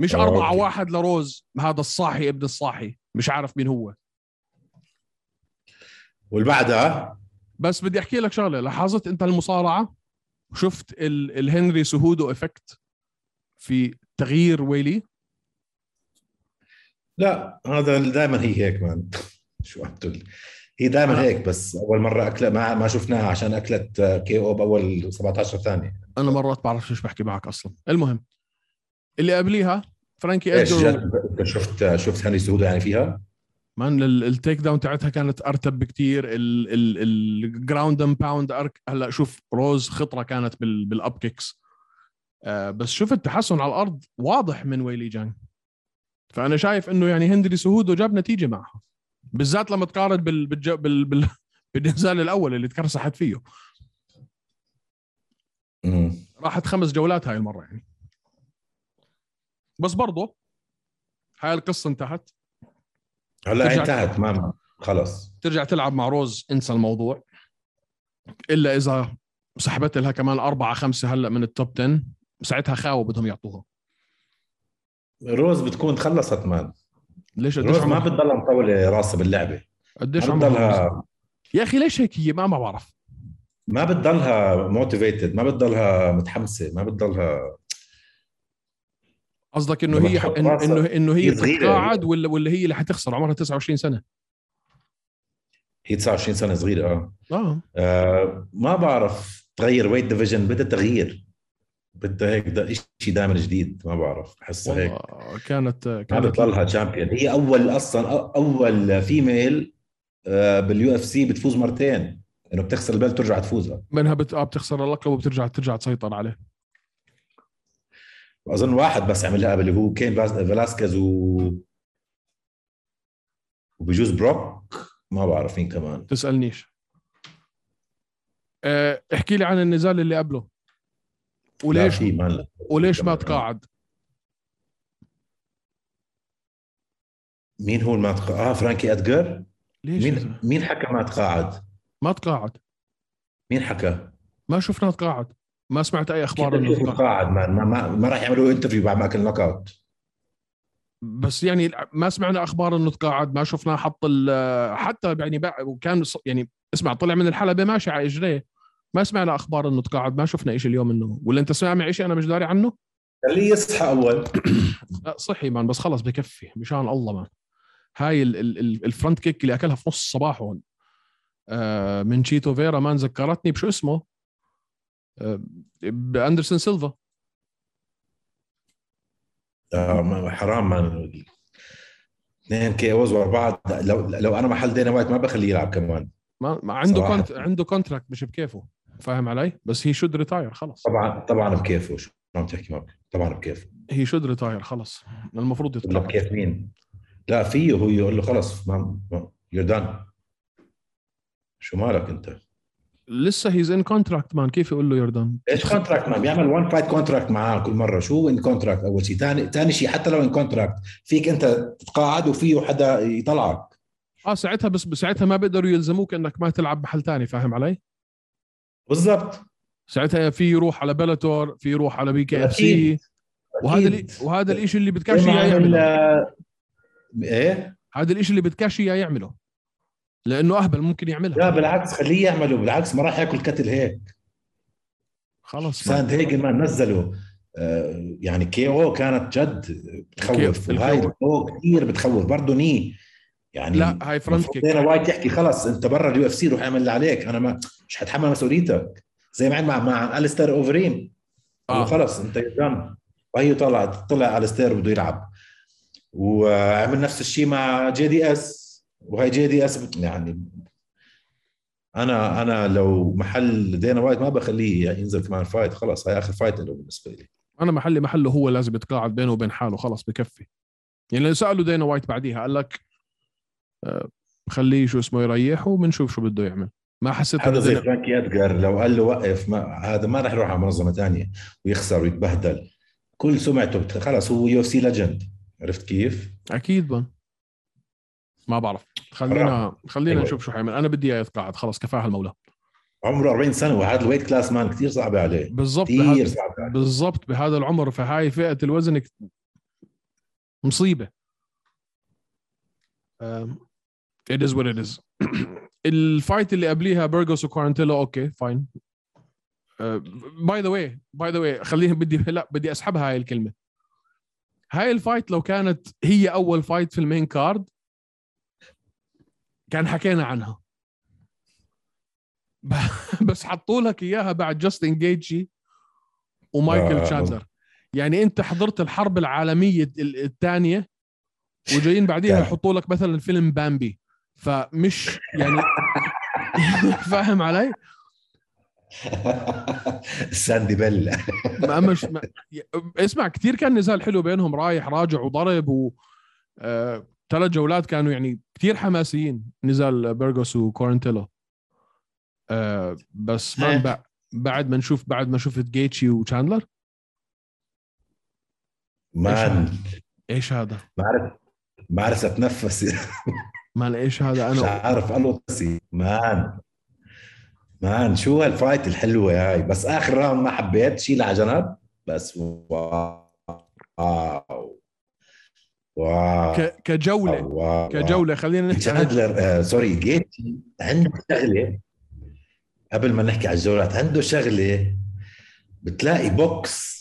Speaker 2: مش
Speaker 3: آه،
Speaker 2: 4
Speaker 3: أوكي.
Speaker 2: 1 لروز هذا الصاحي ابن الصاحي مش عارف مين هو
Speaker 3: والبعدها
Speaker 2: بس بدي احكي لك شغله لاحظت انت المصارعه شفت ال... الهنري سهودو افكت في تغيير ويلي
Speaker 3: لا هذا دائما هي هيك مان [laughs] شو عم تقول هي
Speaker 2: آه.
Speaker 3: دائما هيك بس اول مره اكلت ما ما شفناها عشان اكلت كي او باول 17 ثانيه
Speaker 2: انا مرات بعرف ايش بحكي معك اصلا المهم اللي قبليها فرانكي
Speaker 3: ايش
Speaker 2: ادجر
Speaker 3: جد؟ شفت شفت هنري سهوده يعني فيها
Speaker 2: مان ال- التيك داون تاعتها كانت ارتب بكتير ال- ال- الجراوند اند باوند ارك هلا شوف روز خطره كانت بال بالاب كيكس آه بس شفت تحسن على الارض واضح من ويلي جانج فانا شايف انه يعني هندري سهودو جاب نتيجه معها بالذات لما تقارن بال بالج- بال بال [laughs] بالنزال الاول اللي تكرسحت فيه
Speaker 3: امم
Speaker 2: راحت خمس جولات هاي المره يعني بس برضه هاي القصه انتهت
Speaker 3: هلا
Speaker 2: ترجع-
Speaker 3: انتهت ما خلص
Speaker 2: ترجع تلعب مع روز انسى الموضوع الا اذا سحبت لها كمان أربعة خمسة هلا من التوب 10 ساعتها خاوة بدهم يعطوها
Speaker 3: روز بتكون خلصت مان
Speaker 2: ليش قديش
Speaker 3: روز ما
Speaker 2: عمرها
Speaker 3: بتضل مطولة راسها باللعبة
Speaker 2: قديش
Speaker 3: ما
Speaker 2: عمرها
Speaker 3: بتضلها
Speaker 2: يا اخي ليش هيك هي ما ما بعرف
Speaker 3: ما بتضلها موتيفيتد ما بتضلها متحمسة ما بتضلها
Speaker 2: قصدك انه
Speaker 3: لما
Speaker 2: هي
Speaker 3: تحط
Speaker 2: إنه-
Speaker 3: راسها-
Speaker 2: انه انه هي
Speaker 3: هي صغيرة. يعني.
Speaker 2: بتتقاعد ولا ولا هي اللي حتخسر عمرها 29 سنه
Speaker 3: هي 29 سنة صغيرة اه,
Speaker 2: اه
Speaker 3: آه ما بعرف تغير ويت ديفيجن بدها تغيير بدها هيك دا شيء دائما جديد ما بعرف بحسها هيك
Speaker 2: والله آه، كانت
Speaker 3: ما
Speaker 2: كانت
Speaker 3: بتضلها شامبيون هي اول اصلا أ- اول فيميل آه باليو اف سي بتفوز مرتين انه بتخسر البلد ترجع تفوزها
Speaker 2: منها بت... آه، بتخسر اللقب وبترجع ترجع تسيطر عليه
Speaker 3: اظن واحد بس عملها قبل اللي هو كين باز- فلاسكيز و وبجوز بروك ما بعرف مين كمان
Speaker 2: تسالنيش آه، احكي لي عن النزال اللي قبله
Speaker 3: لا
Speaker 2: وليش
Speaker 3: في مان
Speaker 2: وليش ما
Speaker 3: كمان.
Speaker 2: تقاعد
Speaker 3: مين هو ما تقاعد اه فرانكي ادجر
Speaker 2: ليش يا
Speaker 3: مين
Speaker 2: زلمة؟
Speaker 3: مين حكى ما تقاعد
Speaker 2: ما تقاعد
Speaker 3: مين حكى
Speaker 2: ما شفنا تقاعد ما سمعت اي اخبار
Speaker 3: كيف
Speaker 2: انه
Speaker 3: بده
Speaker 2: تقاعد
Speaker 3: يتقاعد ما, ما, ما, ما راح يعملوا انترفيو بعد ما اكل نوك اوت
Speaker 2: بس يعني ما سمعنا اخبار انه تقاعد ما شفنا حط ال- حتى يعني بع- وكان ص- يعني اسمع طلع من الحلبه ماشي على اجريه ما سمعنا اخبار انه تقاعد ما شفنا شيء اليوم انه ولا انت سامع شيء انا مش داري عنه
Speaker 3: خليه يصحى اول
Speaker 2: لا صحي مان بس خلص بكفي مشان الله مان هاي ال- ال- ال- الفرونت كيك اللي اكلها في نص الصباح هون آه من تشيتو فيرا مان ذكرتني بشو اسمه آه باندرسون سيلفا
Speaker 3: آه ما- حرام مان اثنين كي اوز واربعه لو لو انا محل دينا وايت ما بخليه يلعب كمان
Speaker 2: ما, ما عنده
Speaker 3: صراحة.
Speaker 2: كونت عنده كونتراكت مش بكيفه فاهم علي بس هي شود ريتاير خلص
Speaker 3: طبعا طبعا بكيفه شو عم تحكي معك طبعا بكيفه
Speaker 2: هي شود ريتاير خلص المفروض
Speaker 3: ولا
Speaker 2: يتقاعد
Speaker 3: بكيف مين؟ لا فيه هو يقول له خلص ما يور دان شو مالك انت؟
Speaker 2: لسه هيز ان كونتراكت مان كيف يقول له يوردان
Speaker 3: ايش كونتراكت ما بيعمل وان فايت كونتراكت معاه كل مره شو ان كونتراكت اول شيء ثاني ثاني شيء حتى لو ان كونتراكت فيك انت تتقاعد وفيه حدا يطلعك
Speaker 2: اه ساعتها بس ساعتها ما بيقدروا يلزموك انك ما تلعب محل تاني فاهم علي
Speaker 3: بالضبط
Speaker 2: ساعتها في يروح على بلاتور في يروح على بي كي اف سي
Speaker 3: أكيد.
Speaker 2: وهذا
Speaker 3: أكيد.
Speaker 2: ال- وهذا الشيء اللي بدكاش
Speaker 3: زي ما
Speaker 2: اياه يعمله
Speaker 3: عمل- ايه
Speaker 2: هذا الشيء اللي بدكاش اياه يعمله لانه اهبل ممكن يعملها
Speaker 3: لا بالعكس خليه يعمله بالعكس ما راح ياكل كتل هيك
Speaker 2: نعم. خلص ما-
Speaker 3: ساند هيجن ما نزله آه، يعني كي او كانت جد بتخوف
Speaker 2: الكي-
Speaker 3: وهاي
Speaker 2: الكي
Speaker 3: الكي او كثير بتخوف برضه ني يعني
Speaker 2: لا هاي فرونت
Speaker 3: المفروض
Speaker 2: كيك
Speaker 3: دينا وايت يحكي خلص انت برا اليو اف سي روح اعمل اللي عليك انا ما مش حتحمل مسؤوليتك زي ما عمل مع مع الستير اوفريم آه.
Speaker 2: آه.
Speaker 3: خلص انت دم وهي طلعت طلع الستير بده يلعب وعمل نفس الشيء مع جي دي اس وهي جي دي اس بت- يعني انا انا لو محل دينا وايت ما بخليه ينزل كمان فايت خلص هاي اخر فايت له بالنسبه لي
Speaker 2: انا محلي محله هو لازم يتقاعد بينه وبين حاله خلص بكفي يعني لو سالوا دينا وايت بعديها قال لك آه، خليه شو اسمه يريح وبنشوف شو بده يعمل ما حسيت
Speaker 3: هذا
Speaker 2: إنه
Speaker 3: زي
Speaker 2: دينا-
Speaker 3: فرانكي ادجار لو قال له وقف ما هذا ما راح يروح على منظمه ثانيه ويخسر ويتبهدل كل سمعته بت- خلص هو يو سي ليجند عرفت كيف؟
Speaker 2: اكيد بن ما بعرف خلينا خلينا
Speaker 3: أيوة.
Speaker 2: نشوف شو حيعمل انا بدي اياه يتقاعد خلص كفاها المولى
Speaker 3: عمره 40 سنه وهذا الويت كلاس مان كثير صعبه عليه
Speaker 2: بالضبط
Speaker 3: كثير
Speaker 2: بهذا-
Speaker 3: صعبه عليه
Speaker 2: بالضبط بهذا العمر في هاي فئه الوزن كت- مصيبه أم، it is what it is [clears throat] الفايت اللي قبليها بيرغوس وكوارنتيلو اوكي فاين أه، باي ذا واي باي ذا واي خليني بدي لا بدي اسحبها هاي الكلمه هاي الفايت لو كانت هي اول فايت في المين كارد كان حكينا عنها [laughs] ب- بس حطوا لك اياها بعد جاستن جيجي ومايكل
Speaker 3: آه.
Speaker 2: آه. تشاندلر يعني انت حضرت الحرب العالميه الثانيه وجايين بعديها
Speaker 3: كان.
Speaker 2: يحطوا لك مثلا فيلم بامبي فمش يعني [laughs] فاهم علي؟
Speaker 3: [laughs] ساندي بيلا
Speaker 2: ما مش ما اسمع كثير كان نزال حلو بينهم رايح راجع وضرب و آه، ثلاث جولات كانوا يعني كثير حماسيين نزال بيرغوس وكورنتيلو آه، بس ما بع- بعد ما نشوف بعد ما شفت جيتشي وتشاندلر
Speaker 3: مان
Speaker 2: ايش هذا؟
Speaker 3: ما عرف ما عرف اتنفس
Speaker 2: ما ايش هذا
Speaker 3: مش
Speaker 2: انا
Speaker 3: عارف الوطسي مان مان شو هالفايت الحلوه هاي بس اخر راوند ما حبيت شيلها على جنب بس واو واو
Speaker 2: ك- كجوله
Speaker 3: واو.
Speaker 2: كجوله خلينا نحكي عن
Speaker 3: تشاندلر آه سوري جيتي عنده شغله قبل ما نحكي على الجولات عنده شغله بتلاقي بوكس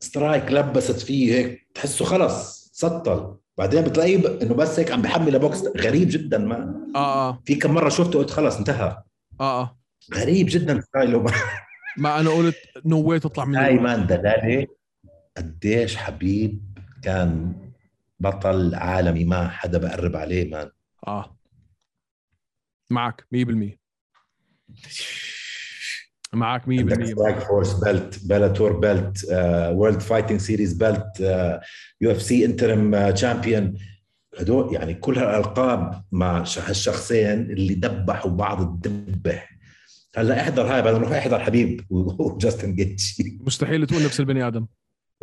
Speaker 3: سترايك لبست فيه هيك تحسه خلص سطل بعدين بتلاقيه ب... انه بس هيك عم بحمل لبوكس غريب جدا ما
Speaker 2: اه اه
Speaker 3: في كم مره شفته قلت خلص انتهى
Speaker 2: اه اه
Speaker 3: غريب جدا ستايله [laughs]
Speaker 2: ما انا قلت نو واي تطلع من
Speaker 3: هاي
Speaker 2: الأولى.
Speaker 3: مان دلاله قديش حبيب كان بطل عالمي ما حدا بقرب عليه مان
Speaker 2: اه معك 100% معك 100%
Speaker 3: عندك سترايك فورس بيلت بلاتور بيلت وورلد فايتنج سيريز بيلت يو اف سي انترم تشامبيون آه، هدول يعني كل هالالقاب مع ش- هالشخصين اللي دبحوا بعض الدبه هلا احضر هاي بدنا نروح احضر حبيب و- وجاستن جيتشي
Speaker 2: مستحيل تكون نفس البني ادم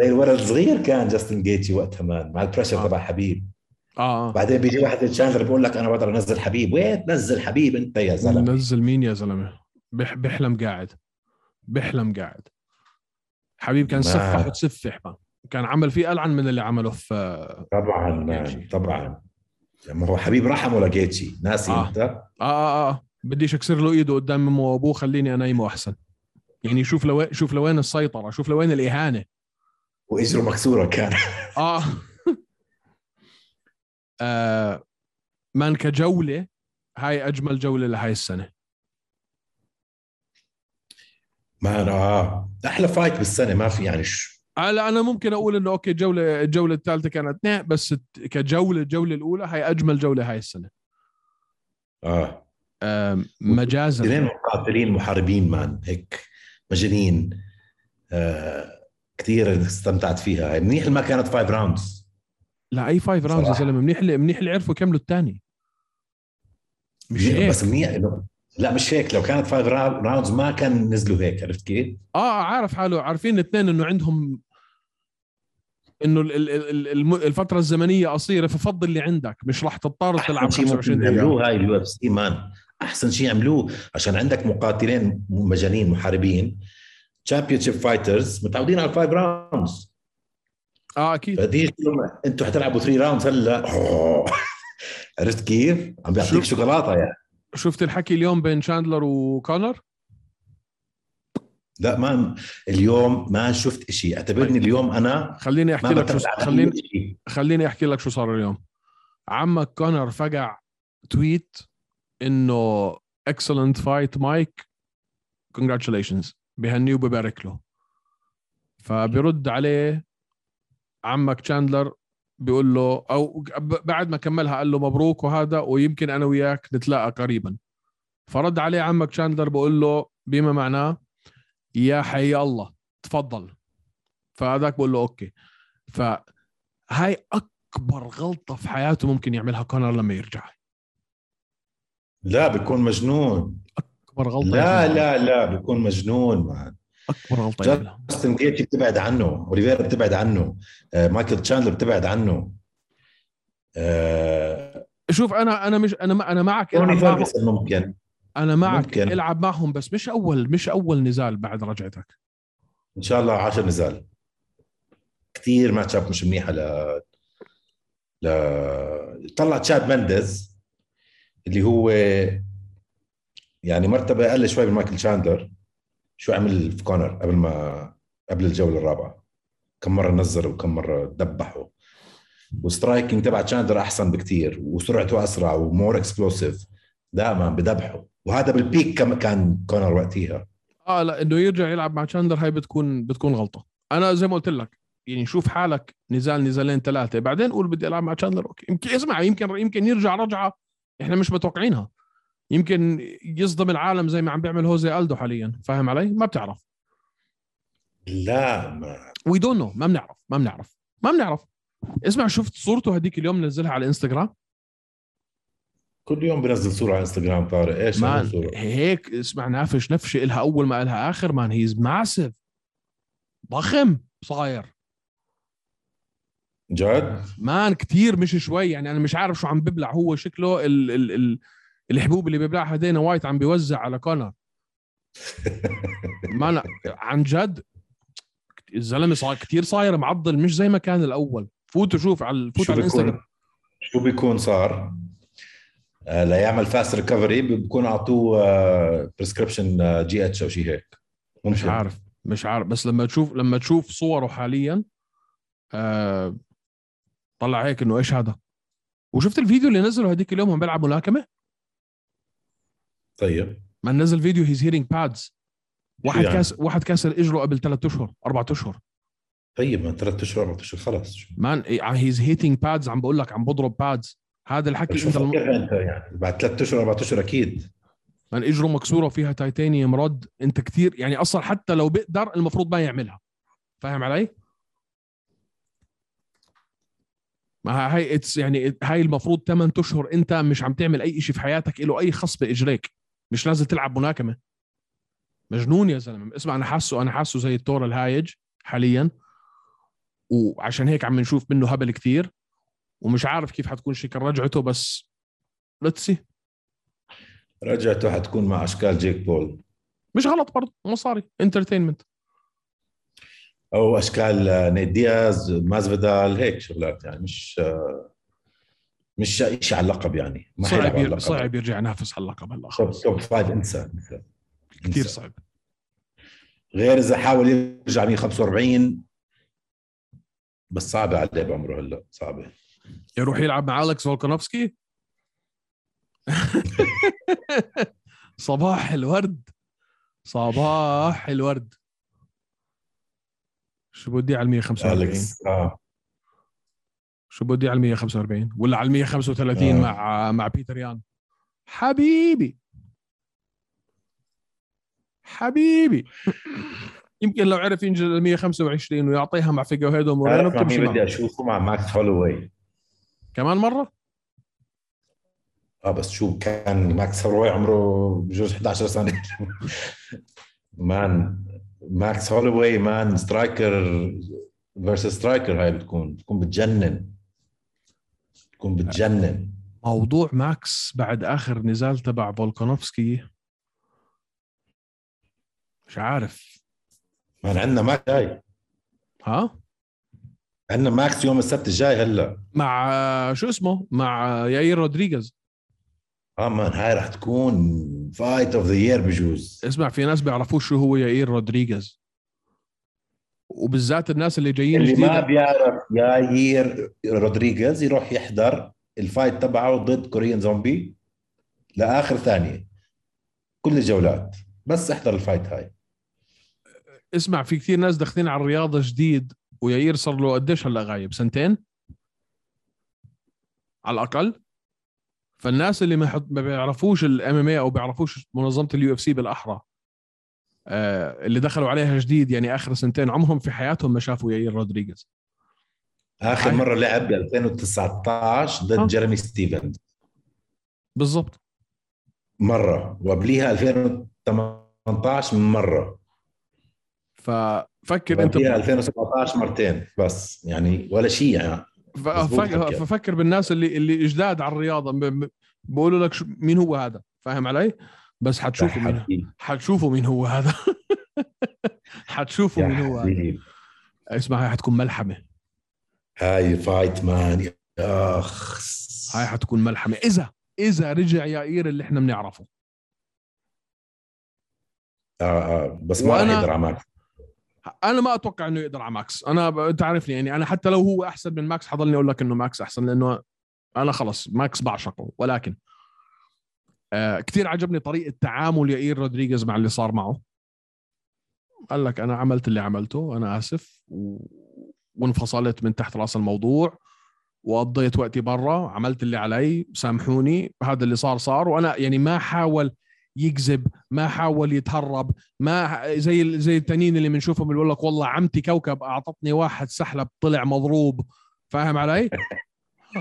Speaker 3: زي الولد الصغير كان جاستن جيتشي وقتها مان مع البريشر
Speaker 2: آه.
Speaker 3: تبع حبيب
Speaker 2: اه آه.
Speaker 3: بعدين بيجي واحد تشاندلر بيقول لك انا بقدر انزل حبيب وين تنزل حبيب انت يا زلمه
Speaker 2: نزل مين يا زلمه بح بحلم قاعد بحلم قاعد حبيب كان
Speaker 3: ما-
Speaker 2: سفح وتسفح ما. كان عمل فيه العن من اللي عمله في آه،
Speaker 3: طبعا مان طبعا يعني ما هو حبيب رحمه لجيتشي ناسي
Speaker 2: آه.
Speaker 3: انت
Speaker 2: آه, اه اه بديش اكسر له ايده قدام امه وابوه خليني انايمه احسن يعني شوف لوين شوف لوين السيطره شوف لوين الاهانه
Speaker 3: واجره مكسوره كان [laughs]
Speaker 2: اه [laughs] آه، مان كجوله هاي اجمل جوله لهاي السنه
Speaker 3: ما انا آه. احلى فايت بالسنه ما في يعني ش...
Speaker 2: هلا انا آه، ممكن اقول انه اوكي الجوله الجوله الثالثه كانت نه بس الت- كجوله الجوله الاولى هاي اجمل جوله هاي السنه
Speaker 3: اه
Speaker 2: آم، مجازا
Speaker 3: اثنين مقاتلين محاربين مان هيك مجانين آه. كثير استمتعت فيها هي منيح ما كانت فايف راوندز
Speaker 2: لا اي فايف راوندز يا
Speaker 3: صراحة.
Speaker 2: زلمه منيح اللي منيح اللي عرفوا يكملوا الثاني مش هيك
Speaker 3: بس منيح إنه- لا مش هيك لو كانت فايف راوندز ما كان نزلوا هيك عرفت كيف؟
Speaker 2: اه عارف حاله عارفين الاثنين انه عندهم انه ال- ال- ال- الم- الفتره الزمنيه قصيره ففضل اللي عندك مش راح تضطر تلعب
Speaker 3: أحسن شيء
Speaker 2: 25
Speaker 3: ممكن
Speaker 2: دقيقه
Speaker 3: يعملوه هاي اليو اف سي مان احسن شيء عملوه عشان عندك مقاتلين مجانين محاربين تشامبيون شيب فايترز متعودين على الفايف راوندز
Speaker 2: اه اكيد
Speaker 3: بديش انتوا حتلعبوا 3 راوندز هلا أوه. عرفت كيف؟ عم بيعطيك
Speaker 2: شو-
Speaker 3: شوكولاته يعني
Speaker 2: شفت الحكي اليوم بين شاندلر وكونر
Speaker 3: لا ما اليوم ما شفت شيء اعتبرني اليوم انا
Speaker 2: خليني
Speaker 3: ما
Speaker 2: طيب. احكي لك شو
Speaker 3: بتابع
Speaker 2: خليني
Speaker 3: شيء
Speaker 2: خليني احكي لك شو صار اليوم عمك كونر فقع تويت انه اكسلنت فايت مايك كونجراتيوليشنز بهنيه وببارك له فبرد عليه عمك تشاندلر بيقول له او ب- بعد ما كملها قال له مبروك وهذا ويمكن انا وياك نتلاقى قريبا فرد عليه عمك تشاندلر بقول له بما معناه يا حي الله تفضل فهذاك بقول له اوكي فهاي اكبر غلطه في حياته ممكن يعملها كونر لما يرجع
Speaker 3: لا بيكون مجنون
Speaker 2: اكبر غلطه
Speaker 3: لا
Speaker 2: يعملها.
Speaker 3: لا لا بيكون مجنون مان
Speaker 2: اكبر غلطه
Speaker 3: جد؟
Speaker 2: يعملها
Speaker 3: جاستن جيتي بتبعد عنه اوليفيرا بتبعد عنه آه، مايكل تشاندلر بتبعد عنه آه،
Speaker 2: شوف انا انا مش انا ما- انا معك
Speaker 3: توني
Speaker 2: العب معهم
Speaker 3: فيرجسون ممكن
Speaker 2: انا معك
Speaker 3: ممكن.
Speaker 2: العب معهم بس مش اول مش اول نزال بعد رجعتك
Speaker 3: ان شاء الله 10 نزال كثير ماتش اب مش منيحه ل ل طلع تشاد مندز اللي هو يعني مرتبه اقل شوي من مايكل تشاندلر شو عمل في كونر قبل ما قبل الجوله الرابعه كم مره نزله وكم مره دبحه والسترايكنج تبع تشاندلر احسن بكثير وسرعته اسرع ومور اكسبلوسيف دائما بدبحه وهذا بالبيك كم كان كونر وقتها
Speaker 2: اه لا انه يرجع يلعب مع تشاندر هاي بتكون بتكون غلطه انا زي ما قلت لك يعني شوف حالك نزال نزالين ثلاثه بعدين قول بدي العب مع تشاندلر اوكي يمكن اسمع يمكن يمكن يرجع رجعه احنا مش متوقعينها يمكن يصدم العالم زي ما عم بيعمل هوزي الدو حاليا فاهم علي ما بتعرف
Speaker 3: لا ما
Speaker 2: وي دونت نو ما بنعرف ما بنعرف ما بنعرف اسمع شفت صورته هذيك اليوم نزلها على الانستغرام
Speaker 3: كل يوم بنزل صورة على انستغرام طارق ايش هذه
Speaker 2: مان
Speaker 3: الصورة؟
Speaker 2: هيك اسمع نافش نفشه إلها أول ما إلها آخر مان هيز ماسف ضخم صاير
Speaker 3: [laughs] جد؟
Speaker 2: مان كتير مش شوي يعني أنا مش عارف شو عم ببلع هو شكله ال ال ال الحبوب اللي بيبلعها دينا وايت عم بيوزع على كونر مان عن جد الزلمة صار كتير صاير معضل مش زي ما كان الأول فوت وشوف على فوت
Speaker 3: شو
Speaker 2: على
Speaker 3: بيكون
Speaker 2: الانستغرام
Speaker 3: شو بيكون صار؟ آه، ليعمل فاست ريكفري بيكون اعطوه بريسكربشن آه، جي اتش او شيء هيك
Speaker 2: مش
Speaker 3: ممكن
Speaker 2: عارف مش عارف بس لما تشوف لما تشوف صوره حاليا آه طلع هيك انه ايش هذا وشفت الفيديو اللي نزله هذيك اليوم وهم بيلعب ملاكمه
Speaker 3: طيب
Speaker 2: ما نزل فيديو هيز هيرينج بادز واحد
Speaker 3: يعني؟
Speaker 2: كاس واحد كاسر اجره قبل ثلاث اشهر اربع اشهر
Speaker 3: طيب ما ثلاث اشهر اربع اشهر خلص شو
Speaker 2: مان هيز هيتنج بادز عم بقول لك عم بضرب بادز هذا الحكي
Speaker 3: شو
Speaker 2: انت الم...
Speaker 3: فكرها انت يعني بعد ثلاث اشهر اربع اشهر اكيد
Speaker 2: من اجره مكسوره فيها تيتانيوم رد انت كثير يعني اصلا حتى لو بيقدر المفروض ما يعملها فاهم علي؟ ما هاي اتس يعني هاي المفروض 8 اشهر انت مش عم تعمل اي شيء في حياتك له اي خص باجريك مش لازم تلعب ملاكمه مجنون يا زلمه اسمع انا حاسه انا حاسه زي الثور الهايج حاليا وعشان هيك عم نشوف منه هبل كثير ومش عارف كيف حتكون شكل رجعته بس ليتس سي
Speaker 3: رجعته حتكون مع اشكال جيك بول
Speaker 2: مش غلط برضه مصاري انترتينمنت
Speaker 3: او اشكال آه، نيت دياز مازفيدال هيك شغلات يعني مش آه، مش شيء على اللقب يعني ما
Speaker 2: صعب
Speaker 3: حيلعبوا على
Speaker 2: ير...
Speaker 3: اللقب.
Speaker 2: صعب يرجع ينافس على اللقب هلا
Speaker 3: توب
Speaker 2: خلص
Speaker 3: توب فايف انسى انسى
Speaker 2: كثير
Speaker 3: انسى.
Speaker 2: صعب
Speaker 3: غير اذا حاول يرجع 145 بس صعبه عليه بعمره هلا صعبه
Speaker 2: يروح يلعب مع الكس فولكانوفسكي [laughs] صباح الورد صباح الورد شو بدي على ال 145
Speaker 3: اليكس اه
Speaker 2: شو بدي على ال 145 ولا على ال 135
Speaker 3: آه.
Speaker 2: مع مع بيتر يان حبيبي حبيبي يمكن لو عرف ينزل ال 125 ويعطيها مع فيجو هيدو مورينو
Speaker 3: عارف مع
Speaker 2: بتمشي
Speaker 3: مين بدي
Speaker 2: معه
Speaker 3: اشوفه مع ماكس هولوي
Speaker 2: كمان مره
Speaker 3: اه بس شو كان ماكس هولوي عمره بجوز 11 سنه [laughs] مان ماكس هولوي مان سترايكر فيرسس سترايكر هاي بتكون بتكون بتجنن بتكون بتجنن
Speaker 2: موضوع ماكس بعد اخر نزال تبع فولكانوفسكي مش عارف
Speaker 3: مان عندنا ماكس جاي
Speaker 2: ها
Speaker 3: عندنا ماكس يوم السبت الجاي هلا
Speaker 2: مع آه، شو اسمه مع آه، ياير رودريغيز
Speaker 3: اه مان هاي رح تكون فايت اوف ذا يير بجوز
Speaker 2: اسمع في ناس بيعرفوش شو هو ياير رودريغيز وبالذات الناس اللي جايين
Speaker 3: اللي ما
Speaker 2: جديد
Speaker 3: بيعرف ياير رودريغيز يروح يحضر الفايت تبعه ضد كوريان زومبي لاخر ثانيه كل الجولات بس احضر الفايت هاي
Speaker 2: اسمع في كثير ناس داخلين على الرياضه جديد ويعير صار له قديش هلا غايب سنتين على الاقل فالناس اللي ما, حط ما بيعرفوش الام ام او إيه بيعرفوش منظمه اليو اف سي بالاحرى آه اللي دخلوا عليها جديد يعني اخر سنتين عمرهم في حياتهم ما شافوا يعير رودريغيز
Speaker 3: اخر
Speaker 2: هاي.
Speaker 3: مره لعب ب 2019 ضد
Speaker 2: آه.
Speaker 3: جيرمي ستيفنز
Speaker 2: بالضبط
Speaker 3: مره وقبليها 2018 مره
Speaker 2: ففكر انت
Speaker 3: وقبليها 2017 مرتين بس يعني ولا شيء يعني
Speaker 2: ف-
Speaker 3: مظبوط
Speaker 2: فك-
Speaker 3: حكي.
Speaker 2: ففكر بالناس اللي اللي جداد على الرياضه ب- ب- بقولوا لك شو- مين هو هذا فاهم علي بس حتشوفوا مين
Speaker 3: حبيبي،
Speaker 2: حتشوفوا مين هو هذا [laughs] حتشوفوا
Speaker 3: يا
Speaker 2: مين هو هذا
Speaker 3: حبيبي.
Speaker 2: اسمع هاي حتكون ملحمه
Speaker 3: هاي فايت مان يا اخ
Speaker 2: هاي حتكون ملحمه اذا اذا رجع يائير اللي احنا بنعرفه
Speaker 3: اه اه بس ما
Speaker 2: وأنا-
Speaker 3: راح يقدر على ماكس
Speaker 2: انا ما اتوقع انه يقدر على ماكس انا ب- انت عارفني يعني انا حتى لو هو احسن من ماكس حضلني اقول لك انه ماكس احسن لانه انا خلص ماكس بعشقه ولكن آه كثير عجبني طريقه تعامل يائير رودريغيز مع اللي صار معه قال لك انا عملت اللي عملته انا اسف و... وانفصلت من تحت راس الموضوع وقضيت وقتي برا عملت اللي علي سامحوني هذا اللي صار صار وانا يعني ما حاول يكذب ما حاول يتهرب ما زي ال- زي التانيين اللي بنشوفهم اللي بيقول لك والله عمتي كوكب اعطتني واحد سحلب طلع مضروب فاهم علي؟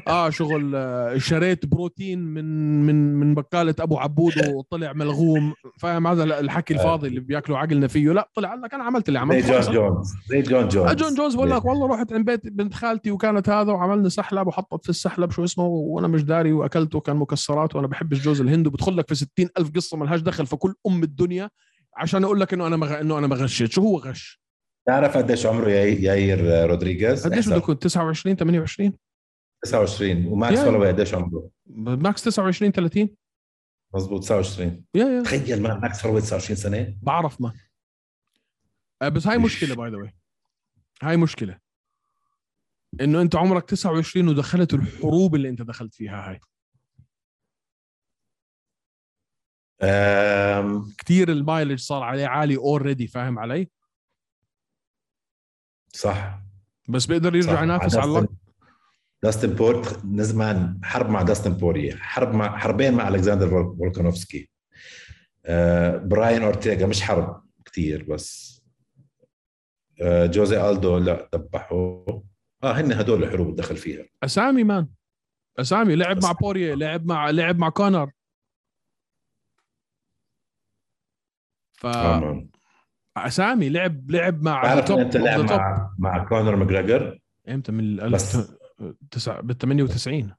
Speaker 2: اه شغل آه، شريت بروتين من من من بقاله ابو عبود وطلع ملغوم فاهم هذا الحكي الفاضي اللي بياكلوا عقلنا فيه لا طلع قال لك انا عملت اللي
Speaker 3: زي
Speaker 2: عملته
Speaker 3: جون
Speaker 2: خلص.
Speaker 3: جونز زي جون جونز
Speaker 2: آه، جون جونز بقول لك والله رحت عند بيت بنت خالتي وكانت هذا وعملنا سحلب وحطت في السحلب شو اسمه وانا مش داري واكلته كان مكسرات وانا بحب الجوز الهند وبدخل لك في 60 الف قصه ملهاش دخل في كل ام الدنيا عشان اقول لك انه انا مغ... انه انا ما غشيت شو هو غش
Speaker 3: تعرف قديش عمره ياي- ياير رودريغيز؟
Speaker 2: قديش
Speaker 3: احسب.
Speaker 2: بده يكون 29 28
Speaker 3: 29 وماكس
Speaker 2: يعني.
Speaker 3: هولوي قديش عمره؟
Speaker 2: ماكس 29 30
Speaker 3: مزبوط 29
Speaker 2: يا يا
Speaker 3: تخيل ما ماكس هولوي 29 سنه
Speaker 2: بعرف ما آه، بس هاي مشكله باي ذا هاي مشكله انه انت عمرك 29 ودخلت الحروب اللي انت دخلت فيها هاي
Speaker 3: أم...
Speaker 2: كتير المايلج صار عليه عالي اوريدي فاهم علي
Speaker 3: صح
Speaker 2: بس بيقدر يرجع ينافس على اللقب
Speaker 3: داستن بورت زمان حرب مع داستن بوري حرب مع حربين مع الكساندر فول- فولكانوفسكي آه، براين اورتيغا مش حرب كثير بس آه، جوزي الدو لا ذبحوه اه هن هدول الحروب اللي دخل فيها
Speaker 2: اسامي مان اسامي لعب مع
Speaker 3: بس-
Speaker 2: بوريه لعب مع لعب مع كونر
Speaker 3: آه.
Speaker 2: فاسامي
Speaker 3: مان.
Speaker 2: لعب لعب مع
Speaker 3: بعرف
Speaker 2: التوب-
Speaker 3: انت لعب
Speaker 2: التوب.
Speaker 3: مع مع كونر [laughs] ماجريجر
Speaker 2: امتى من
Speaker 3: بس-
Speaker 2: 1000 تسعة بال 98
Speaker 3: لا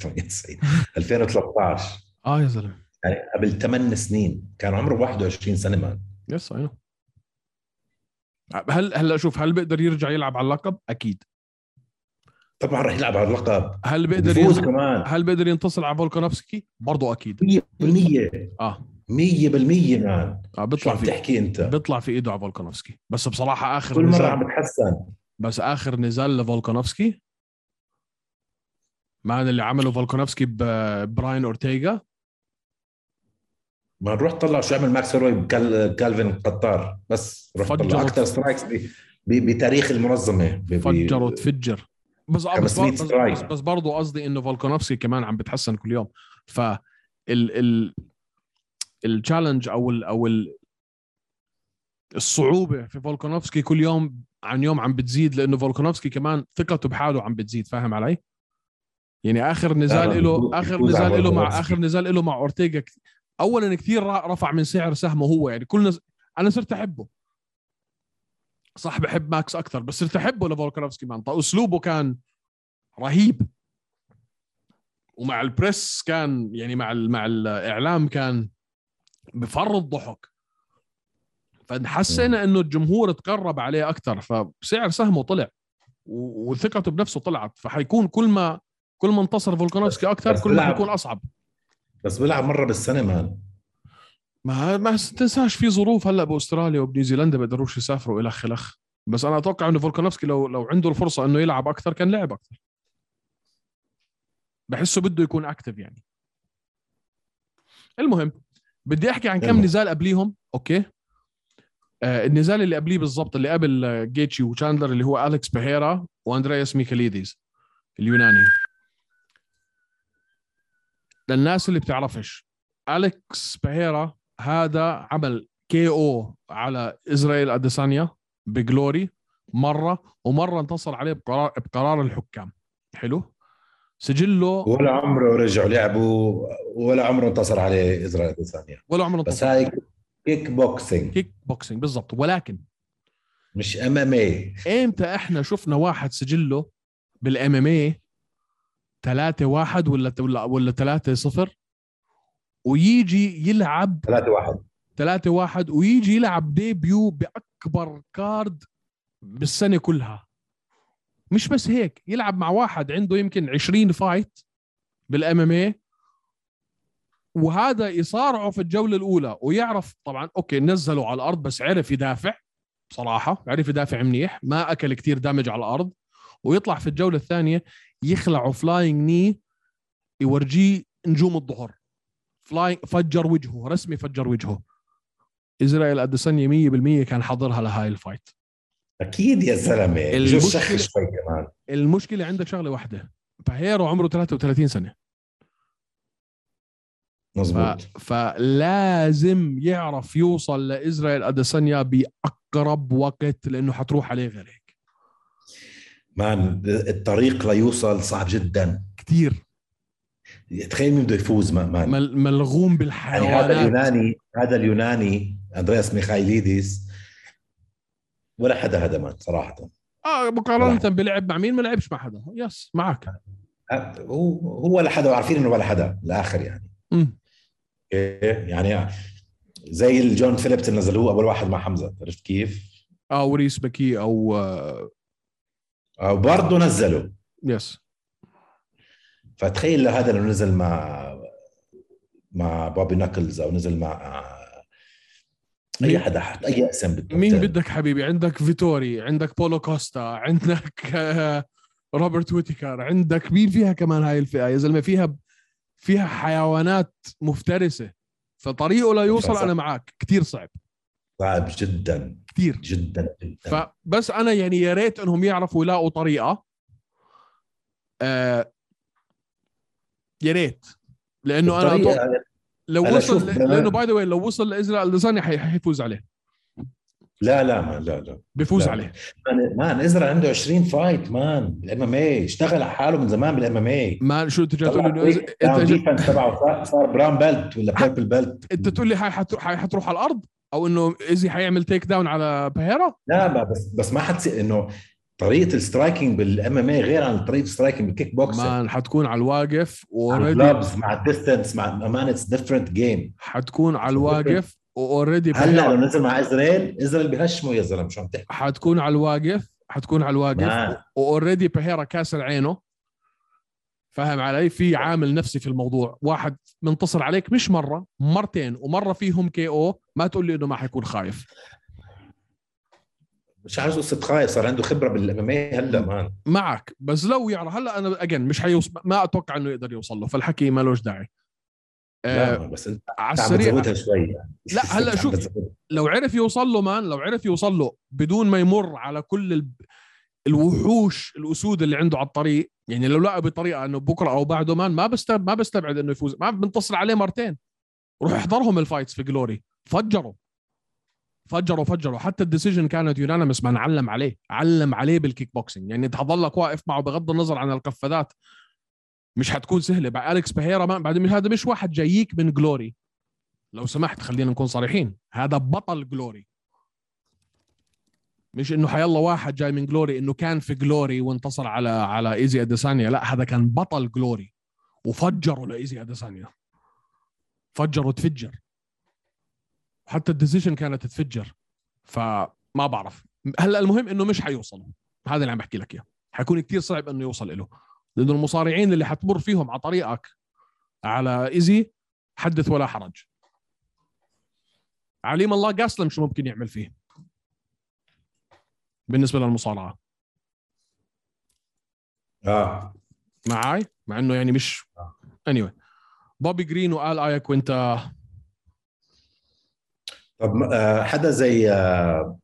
Speaker 3: 98 2013
Speaker 2: اه يا زلمه
Speaker 3: يعني قبل ثمان سنين كان عمره 21 سنه مان
Speaker 2: يس اي هل هلا شوف هل بيقدر يرجع يلعب على اللقب؟ اكيد
Speaker 3: طبعا رح يلعب على اللقب
Speaker 2: هل بيقدر
Speaker 3: بيفوز
Speaker 2: ينت...
Speaker 3: كمان
Speaker 2: هل بيقدر ينتصر على فولكانوفسكي؟ برضه اكيد
Speaker 3: 100%
Speaker 2: اه
Speaker 3: 100% مان
Speaker 2: اه
Speaker 3: نعم. شو
Speaker 2: بيطلع
Speaker 3: عم
Speaker 2: في
Speaker 3: تحكي انت
Speaker 2: بيطلع في ايده على فولكانوفسكي بس بصراحه اخر
Speaker 3: كل مره
Speaker 2: نزال
Speaker 3: عم بتحسن
Speaker 2: بس اخر نزال لفولكانوفسكي مع اللي عمله فولكانوفسكي ببراين اورتيغا
Speaker 3: ما نروح طلع شو عمل ماكس هولوي بكال... كالفين قطار بس روح
Speaker 2: فجرت.
Speaker 3: طلع اكثر سترايكس ب... ب... بتاريخ المنظمه ب...
Speaker 2: فجر
Speaker 3: ب...
Speaker 2: وتفجر بس آه، بس
Speaker 3: 500
Speaker 2: بس,
Speaker 3: سترايك.
Speaker 2: بس, بس برضه قصدي انه فولكانوفسكي كمان عم بتحسن كل يوم ف ال ال التشالنج او ال او ال الصعوبه في فولكانوفسكي كل يوم عن يوم عم بتزيد لانه فولكانوفسكي كمان ثقته بحاله عم بتزيد فاهم علي؟ يعني اخر
Speaker 3: لا،
Speaker 2: نزال له
Speaker 3: بيفوز-
Speaker 2: اخر
Speaker 3: بيفوز آه، على
Speaker 2: نزال له مع
Speaker 3: فولكانوفسكي.
Speaker 2: اخر نزال له مع اورتيغا كت- اولا كثير رفع من سعر سهمه هو يعني كل نز... انا صرت احبه صح بحب ماكس اكثر بس صرت احبه لفولكانوفسكي مان طيب اسلوبه كان رهيب ومع البريس كان يعني مع ال... مع الاعلام كان بفر الضحك فحسينا انه الجمهور تقرب عليه اكثر فسعر سهمه طلع و- وثقته بنفسه طلعت فحيكون كل ما كل ما انتصر فولكانوفسكي اكثر
Speaker 3: بس
Speaker 2: كل ما
Speaker 3: بيلعب.
Speaker 2: حيكون اصعب
Speaker 3: بس بيلعب مره بالسنه مان
Speaker 2: ما ما تنساش في ظروف هلا باستراليا وبنيوزيلندا بيقدروش يسافروا الخ الخ بس انا اتوقع انه فولكانوفسكي لو لو عنده الفرصه انه يلعب اكثر كان لعب اكثر بحسه بده يكون اكتف يعني المهم بدي احكي عن كم
Speaker 3: يلا.
Speaker 2: نزال قبليهم اوكي آه النزال اللي قبليه بالضبط اللي قبل آه، جيتشي وشاندلر اللي هو اليكس بيهيرا واندرياس ميكاليديز اليوناني للناس اللي بتعرفش اليكس بيهيرا هذا عمل كي او على اسرائيل اديسانيا بجلوري مره ومره انتصر عليه بقرار بقرار الحكام حلو سجله
Speaker 3: ولا عمره رجعوا لعبوا ولا عمره انتصر عليه اسرائيل الثانيه
Speaker 2: ولا عمره
Speaker 3: بس
Speaker 2: انتصر
Speaker 3: هاي كيك بوكسينج
Speaker 2: كيك بوكسينج بالضبط ولكن
Speaker 3: مش ام ام اي
Speaker 2: امتى احنا شفنا واحد سجله بالام ام اي 3 1 ولا ولا ولا 3 0 ويجي يلعب
Speaker 3: 3 1
Speaker 2: 3 1 ويجي يلعب ديبيو باكبر كارد بالسنه كلها مش بس هيك يلعب مع واحد عنده يمكن 20 فايت بالام ام اي وهذا يصارعه في الجوله الاولى ويعرف طبعا اوكي نزله على الارض بس عرف يدافع بصراحه عرف يدافع منيح ما اكل كتير دامج على الارض ويطلع في الجوله الثانيه يخلعه فلاينج ني يورجيه نجوم الظهر فلاينج فجر وجهه رسمي فجر وجهه اسرائيل اديسانيا 100% كان حاضرها لهاي الفايت
Speaker 3: اكيد يا زلمه
Speaker 2: المشكلة-
Speaker 3: بجوز شخ شوي كمان
Speaker 2: المشكله عندك شغله واحده باهيرو عمره 33 سنه
Speaker 3: مزبوط
Speaker 2: ف... فلازم يعرف يوصل لاسرائيل اديسانيا باقرب وقت لانه حتروح عليه غير هيك
Speaker 3: مان الطريق ليوصل صعب جدا
Speaker 2: كثير
Speaker 3: تخيل مين بده يفوز ما- مان
Speaker 2: مل... ملغوم
Speaker 3: يعني هذا
Speaker 2: بالحيوانات
Speaker 3: اليوناني هذا اليوناني اندرياس ميخايليديس ولا حدا هذا مان صراحه
Speaker 2: اه مقارنه بلعب مع مين ما لعبش مع حدا يس معك
Speaker 3: أه، هو هو ولا حدا وعارفين انه ولا حدا الاخر يعني
Speaker 2: مم.
Speaker 3: إيه، يعني زي الجون فيليبس اللي نزلوه اول واحد مع حمزه عرفت كيف؟
Speaker 2: اه وريس بكي او آه
Speaker 3: أه، وبرضه نزله
Speaker 2: يس
Speaker 3: فتخيل لو هذا لو نزل مع مع بوبي ناكلز او نزل مع اي
Speaker 2: مين-
Speaker 3: حدا حط اي اسم بده
Speaker 2: مين بدك حبيبي عندك فيتوري عندك بولو كوستا عندك آه، روبرت ويتيكر عندك مين فيها كمان هاي الفئه يا زلمه فيها فيها حيوانات مفترسه فطريقه لا يوصل
Speaker 3: فصعب.
Speaker 2: انا معك كتير صعب
Speaker 3: صعب جدا
Speaker 2: كتير
Speaker 3: جدا جدا
Speaker 2: فبس انا يعني يا ريت انهم يعرفوا يلاقوا طريقه آه يا ريت لانه انا
Speaker 3: الطريقة-
Speaker 2: أتوقع- لو
Speaker 3: أنا
Speaker 2: وصل
Speaker 3: شوف-
Speaker 2: لانه باي ذا لو وصل لازرائيل لساني حي- حيفوز عليه
Speaker 3: لا لا ما لا لا
Speaker 2: بيفوز
Speaker 3: لا.
Speaker 2: عليه
Speaker 3: مان, مان ازرا عنده 20 فايت مان بالام ام اي اشتغل على حاله من زمان إيه. بالام ام اي
Speaker 2: ما شو انت جاي تقول لي إنه إز- انت جاي-
Speaker 3: الديفنس إيه، تبعه صار- صار براون بيلت ولا بيربل بيلت
Speaker 2: انت تقول لي هاي حترو- هاي حتروح على الارض او انه ايزي حيعمل تيك داون على بهيرا
Speaker 3: لا ما بس بس ما حتصير انه طريقه السترايكنج بالام ام اي إيه غير عن طريقه السترايكنج بالكيك بوكسينج
Speaker 2: مان حتكون على الواقف
Speaker 3: مع
Speaker 2: اوريدي
Speaker 3: الجلوبز مع الديستنس مع مان اتس ديفرنت جيم
Speaker 2: حتكون على الواقف واوريدي
Speaker 3: هلا لو نزل مع اسرائيل اسرائيل بهشمه يا زلمه شو عم تحكي
Speaker 2: حتكون على الواقف حتكون على الواقف
Speaker 3: ما-
Speaker 2: واوريدي بهيرا كاسر عينه فاهم علي في عامل نفسي في الموضوع واحد منتصر عليك مش مره مرتين ومره فيهم كي او ما تقول لي انه ما حيكون خايف
Speaker 3: مش عارف قصه خايف صار عنده خبره بالام ام اي هلا إيه مان
Speaker 2: معك بس لو يعرف هلا انا اجن مش حيوصل ما اتوقع انه يقدر يوصل له فالحكي ما لوش داعي
Speaker 3: لا
Speaker 2: آه
Speaker 3: مان، بس انت
Speaker 2: على
Speaker 3: عم
Speaker 2: السريع
Speaker 3: بتزودها شوي يعني.
Speaker 2: لا، هلا
Speaker 3: عم
Speaker 2: شوف.
Speaker 3: بتزودها.
Speaker 2: لو عرف يوصل له مان لو عرف يوصل له بدون ما يمر على كل ال... الوحوش الاسود اللي عنده على الطريق يعني لو لقى بطريقه انه بكره او بعده مان ما بستبعد ما بستبعد انه يفوز ما بنتصل عليه مرتين روح احضرهم الفايتس في جلوري فجروا فجروا فجروا حتى الديسيجن كانت يونانمس ما علم عليه علم عليه بالكيك بوكسينج يعني انت حضلك واقف معه بغض النظر عن القفازات مش حتكون سهله بعد اليكس بهيرا ما- بعد هذا مش واحد جاييك من جلوري لو سمحت خلينا نكون صريحين هذا بطل جلوري مش انه حيلا واحد جاي من جلوري انه كان في جلوري وانتصر على على ايزي اديسانيا لا هذا كان بطل جلوري وفجروا لايزي اديسانيا فجروا تفجر حتى الديسيشن كانت تفجر فما بعرف هلا المهم انه مش حيوصلوا هذا اللي عم بحكي لك اياه حيكون كتير صعب انه يوصل له لانه المصارعين اللي حتمر فيهم على طريقك على ايزي حدث ولا حرج عليم الله قاسلم شو ممكن يعمل فيه بالنسبه للمصارعه
Speaker 3: اه آه.
Speaker 2: معاي مع انه يعني مش anyway بوبي جرين وآل آيا كوينتا
Speaker 3: طب ما- آه، حدا زي آه،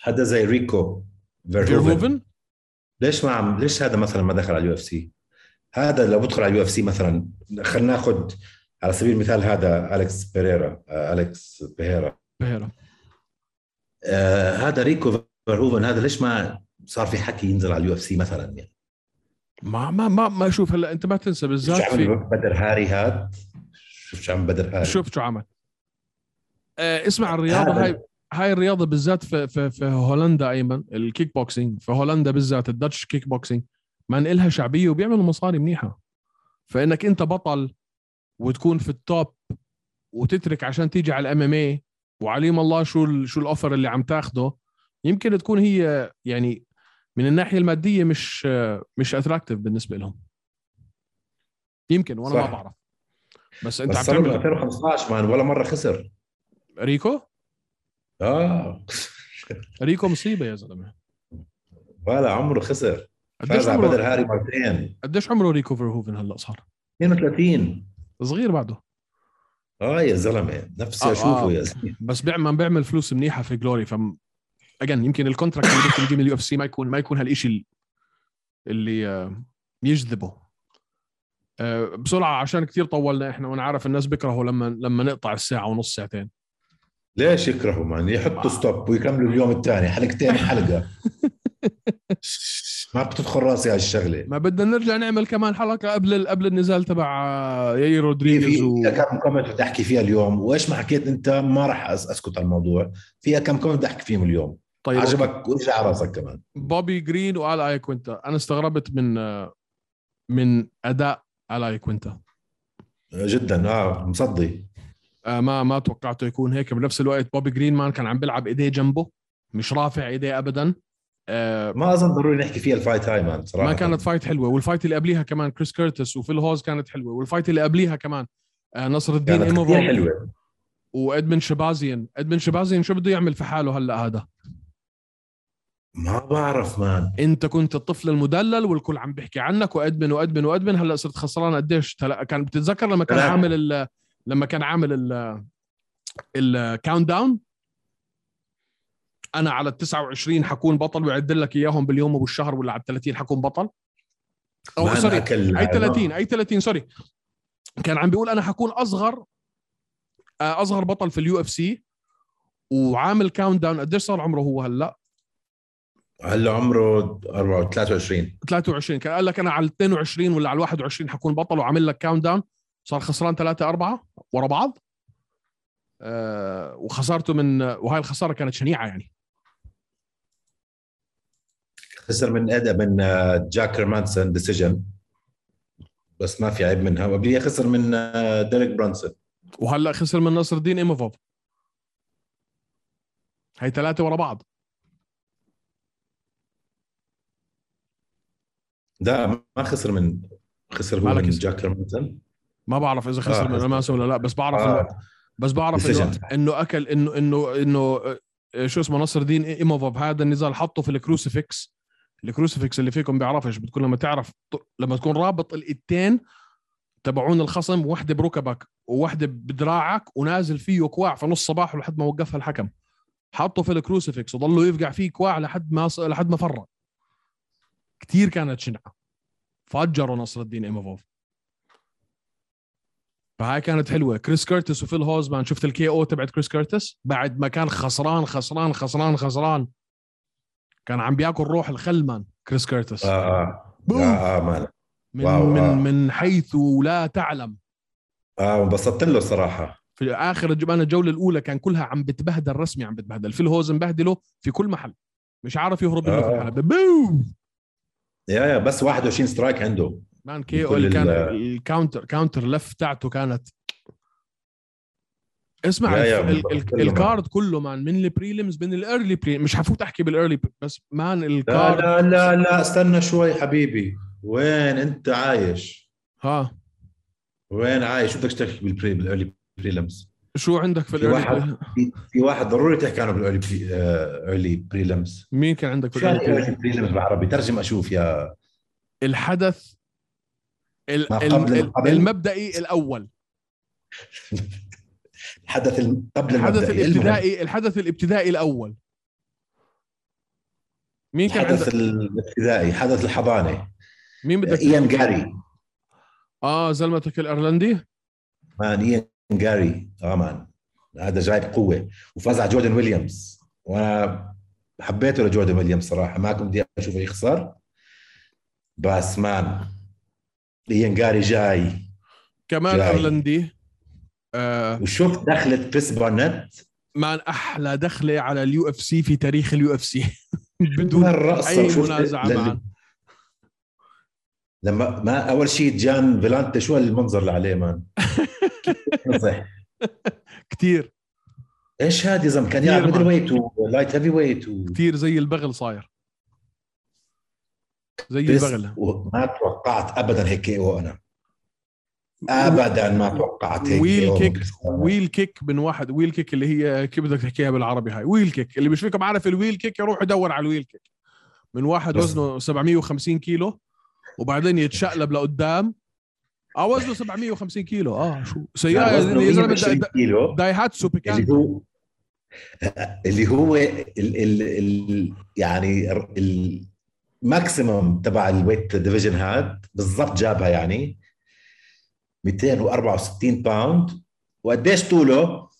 Speaker 3: حدا زي ريكو فيرهوفن
Speaker 2: فيرهوفن
Speaker 3: ليش ما عم ليش هذا مثلا ما دخل على اليو اف سي؟ هذا لو بدخل على اليو اف سي مثلا خلينا ناخذ على سبيل المثال هذا اليكس بيريرا آه، اليكس بيريرا
Speaker 2: بهيرة
Speaker 3: آه، هذا ريكو فيرهوفن هذا ليش ما صار في حكي ينزل على اليو اف سي مثلا يعني
Speaker 2: ما ما ما ما شوف هلا انت ما تنسى
Speaker 3: شو
Speaker 2: بالذات في
Speaker 3: عمل بدر هاري هاد شوف شو عمل بدر هاري
Speaker 2: شوف شو عمل آه اسمع الرياضه هاي هاي الرياضه بالذات في في في هولندا ايمن الكيك بوكسينج في هولندا بالذات الداتش كيك بوكسينج من إلها شعبيه وبيعملوا مصاري منيحه فانك انت بطل وتكون في التوب وتترك عشان تيجي على الام ام اي وعليم الله شو ال شو الاوفر اللي عم تاخده يمكن تكون هي يعني من الناحيه الماديه مش مش اتراكتيف بالنسبه لهم يمكن وانا ما
Speaker 3: صح.
Speaker 2: بعرف بس انت
Speaker 3: بس
Speaker 2: عم
Speaker 3: صار من
Speaker 2: تعمل
Speaker 3: 2015 مان ولا مره خسر
Speaker 2: ريكو
Speaker 3: اه
Speaker 2: ريكو مصيبه يا زلمه
Speaker 3: [laughs] ولا عمره خسر
Speaker 2: قديش
Speaker 3: فاز على بدر
Speaker 2: عمره
Speaker 3: هاري مرتين
Speaker 2: قديش عمره ريكو فيرهوفن هلا صار
Speaker 3: 32
Speaker 2: صغير بعده
Speaker 3: اه يا زلمه نفسي
Speaker 2: آه،
Speaker 3: اشوفه
Speaker 2: آه.
Speaker 3: يا زلمه
Speaker 2: بس بيعمل بيعمل فلوس منيحه في جلوري فم اجن يمكن الكونتراكت اللي ممكن يجي من اليو اف سي ما يكون ما يكون هالشيء ال- اللي آه، يجذبه آه، بسرعه عشان كثير طولنا احنا وانا عارف الناس بيكرهوا لما لما نقطع الساعه ونص
Speaker 3: [laughs]
Speaker 2: ساعتين
Speaker 3: ليش يكرهوا مان يحطوا ستوب ويكملوا اليوم الثاني
Speaker 2: [laughs]
Speaker 3: حلقتين حلقه ما بتدخل راسي هاي الشغله
Speaker 2: ما بدنا نرجع نعمل كمان حلقه قبل ال- قبل النزال تبع آه، ياير
Speaker 3: في
Speaker 2: رودريغيز و...
Speaker 3: في كم كومنت بدي احكي فيها اليوم وايش ما حكيت انت ما راح أس- اسكت على الموضوع فيها كم كومنت بدي احكي فيهم اليوم
Speaker 2: طيب أوكي.
Speaker 3: عجبك واجى على راسك كمان
Speaker 2: بوبي جرين وآل آيا كوينتا انا استغربت من من اداء آل آيا كوينتا
Speaker 3: آه، جدا اه مصدي
Speaker 2: آه، ما ما توقعته يكون هيك بنفس الوقت بوبي جرين مان كان عم بيلعب ايديه جنبه مش رافع ايديه ابدا آه،
Speaker 3: ما اظن ضروري نحكي فيها الفايت هاي مان صراحه
Speaker 2: ما كانت فايت حلوه والفايت اللي قبليها كمان كريس كيرتس وفيل هوز كانت حلوه والفايت اللي قبليها كمان آه، نصر الدين
Speaker 3: كانت كثير
Speaker 2: ايموفيل
Speaker 3: حلوه
Speaker 2: وادمن شبازيان ادمن شبازيان شو بده يعمل في حاله هلا هذا
Speaker 3: ما بعرف مان
Speaker 2: انت كنت الطفل المدلل والكل عم بيحكي عنك وادمن وادمن وادمن هلا صرت خسران قديش تلا- كان بتتذكر لما كان
Speaker 3: ثلاثة.
Speaker 2: عامل ال... لما كان عامل ال الكاونت داون انا على ال 29 حكون بطل ويعد لك اياهم باليوم وبالشهر ولا على ال 30 حكون بطل او
Speaker 3: مان
Speaker 2: سوري
Speaker 3: أكل
Speaker 2: اي 30 اي 30 سوري كان عم بيقول انا حكون اصغر آه، اصغر بطل في اليو اف سي وعامل كاونت داون قديش صار عمره هو هلا
Speaker 3: هلا عمره 24 23
Speaker 2: 23 كان قال لك انا على 22 ولا على 21 حكون بطل وعامل لك كاونت داون صار خسران 3 4 ورا بعض أه وخسارته من وهاي الخساره كانت شنيعه يعني
Speaker 3: خسر من أدا من آه، جاك ريمانسون ديسيجن بس ما في عيب منها وقبليها خسر من آه، ديريك برانسون
Speaker 2: وهلا خسر من نصر الدين ايموفوف هاي ثلاثه ورا بعض
Speaker 3: لا ما خسر من خسر هو
Speaker 2: مالك
Speaker 3: من
Speaker 2: اسم.
Speaker 3: جاك ريمانسون
Speaker 2: ما بعرف اذا خسر
Speaker 3: آه،
Speaker 2: من
Speaker 3: خسر.
Speaker 2: الماسم ولا لا بس بعرف إنه
Speaker 3: آه.
Speaker 2: بس بعرف انه
Speaker 3: decision.
Speaker 2: انه اكل انه انه انه آه، شو اسمه نصر الدين ايموفوف هذا النزال حطه في الكروسيفكس الكروسيفكس اللي فيكم بيعرفش بتكون لما تعرف ط- لما تكون رابط الايدتين تبعون الخصم واحده بركبك وواحده بدراعك ونازل فيه كواع في نص صباحه لحد ما وقفها الحكم حطه في الكروسيفكس وضلوا يفقع فيه كواع لحد ما ص- لحد ما فرق كتير كانت شنعه فجروا نصر الدين ايموفوف فهاي كانت حلوه كريس كيرتس وفيل هوزمان شفت الكي او تبعت كريس كيرتس بعد ما كان خسران خسران خسران خسران كان عم بياكل روح الخلمان كريس كيرتس
Speaker 3: اه اه
Speaker 2: بوف.
Speaker 3: اه اه مان
Speaker 2: من
Speaker 3: واو،
Speaker 2: من
Speaker 3: آه.
Speaker 2: من حيث لا تعلم
Speaker 3: اه انبسطت له صراحه
Speaker 2: في اخر الج- انا الجوله الاولى كان كلها عم بتبهدل رسمي عم بتبهدل فيل هوزن بهدله في كل محل مش عارف يهرب منه في
Speaker 3: آه.
Speaker 2: الحلبه بوم
Speaker 3: يا يا بس 21 سترايك عنده
Speaker 2: مان كي او
Speaker 3: كل
Speaker 2: اللي كان
Speaker 3: ال-
Speaker 2: الكاونتر كاونتر لف تاعته كانت اسمع
Speaker 3: يا
Speaker 2: الف...
Speaker 3: يا
Speaker 2: ال...
Speaker 3: بالضبط،
Speaker 2: ال...
Speaker 3: كله
Speaker 2: الكارد كله مان من البريليمز من الايرلي بري مش حفوت احكي بالايرلي بس مان
Speaker 3: لا
Speaker 2: الكارد
Speaker 3: لا لا لا استنى شوي حبيبي وين انت عايش
Speaker 2: ها
Speaker 3: وين عايش شو بدك تحكي بالبري بالايرلي بريلمز
Speaker 2: شو عندك في
Speaker 3: في
Speaker 2: الايرلي
Speaker 3: في- في واحد ضروري تحكي عنه بالايرلي بري- آه، ايرلي بريلمز
Speaker 2: مين كان عندك في
Speaker 3: شو يعني
Speaker 2: الايرلي
Speaker 3: ايرلي بريلمز بالعربي ترجم اشوف يا
Speaker 2: الحدث ال-
Speaker 3: ما
Speaker 2: ال-
Speaker 3: قبل-
Speaker 2: ال-
Speaker 3: قبل-
Speaker 2: المبدئي الاول
Speaker 3: الحدث ال- قبل
Speaker 2: الحدث
Speaker 3: المبدئي المهم.
Speaker 2: الابتدائي الحدث الابتدائي الاول مين كان عندك
Speaker 3: الحدث الابتدائي حدث الحضانه
Speaker 2: مين بدك
Speaker 3: ايان جاري
Speaker 2: اه زلمتك الايرلندي
Speaker 3: مان ايان جاري اه مان هذا جايب قوه وفاز على جوردن ويليامز وانا حبيته لجوردن ويليامز صراحه ما كنت بدي اشوفه يخسر بس مان ايان جاري جاي
Speaker 2: كمان
Speaker 3: جاي.
Speaker 2: ايرلندي آه
Speaker 3: وشفت دخلت كريس بارنت
Speaker 2: مان احلى دخله على اليو اف سي في تاريخ اليو اف سي [laughs] بدون
Speaker 3: من الرقصة
Speaker 2: اي
Speaker 3: وشفت
Speaker 2: منازعه
Speaker 3: للي-
Speaker 2: معا
Speaker 3: لما ما اول شيء جان فيلانتا شو المنظر اللي عليه مان كيف ينصح؟
Speaker 2: كثير
Speaker 3: ايش هذا يا زلمه كان يلعب
Speaker 2: كتير
Speaker 3: ميدل
Speaker 2: مان.
Speaker 3: ويت ولايت هيفي ويت و...
Speaker 2: كثير زي البغل صاير زي
Speaker 3: بس
Speaker 2: البغل
Speaker 3: وما توقعت ابدا هيك او انا ابدا ما توقعت هيك يعني
Speaker 2: ويل
Speaker 3: KO.
Speaker 2: كيك ويل كيك من واحد ويل كيك اللي هي كيف بدك تحكيها بالعربي هاي ويل كيك اللي مش فيكم عارف الويل كيك يروح يدور على الويل كيك من واحد
Speaker 3: بس.
Speaker 2: وزنه 750 كيلو وبعدين يتشقلب لقدام اه وزنه 750 كيلو اه شو سياره
Speaker 3: لا، وزنه
Speaker 2: يا زلمه
Speaker 3: 120
Speaker 2: دا-
Speaker 3: كيلو
Speaker 2: دايهاتسو بيكان
Speaker 3: اللي هو اللي هو ال ال ال يعني الماكسيمم تبع الويت ديفيجن هاد بالضبط جابها يعني 264 باوند وقديش طوله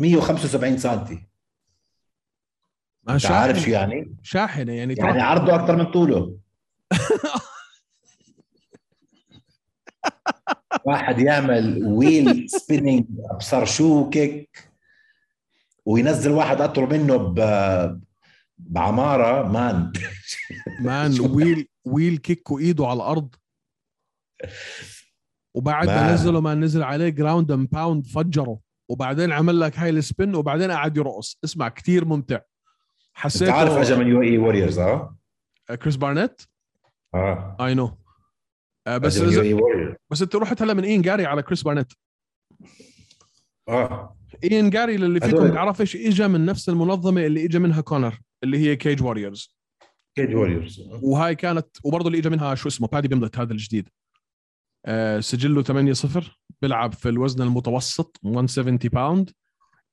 Speaker 3: 175 سم
Speaker 2: آه،
Speaker 3: انت عارف شو
Speaker 2: شاحنة-
Speaker 3: يعني؟
Speaker 2: شاحنه يعني
Speaker 3: يعني
Speaker 2: تروح
Speaker 3: عرضه اكثر من
Speaker 2: [laughs]
Speaker 3: طوله واحد يعمل ويل سبيننج ابصر شو كيك وينزل واحد اطول منه ب بعماره مان
Speaker 2: مان ويل ويل كيك وايده على الارض وبعد ما
Speaker 3: مان.
Speaker 2: نزله ما نزل عليه جراوند اند باوند فجره وبعدين عمل لك هاي السبن وبعدين قعد يرقص اسمع كتير ممتع
Speaker 3: انت عارف اجى
Speaker 2: حسيت
Speaker 3: من يو اي ووريرز اه
Speaker 2: آه، كريس بارنت
Speaker 3: اه
Speaker 2: اي نو آه، بس
Speaker 3: بس من يو
Speaker 2: إذا-
Speaker 3: اي ووريرز
Speaker 2: بس انت رحت هلا من اين جاري على كريس بارنت
Speaker 3: اه
Speaker 2: اين جاري للي فيكم
Speaker 3: هدول-
Speaker 2: بيعرف ايش اجى من نفس المنظمه اللي اجى منها كونر اللي هي كيج واريورز
Speaker 3: كيد ووريرز
Speaker 2: وهاي كانت وبرضه اللي اجى منها شو اسمه بادي بيملت هذا الجديد آه سجله 8 0 بيلعب في الوزن المتوسط 170 باوند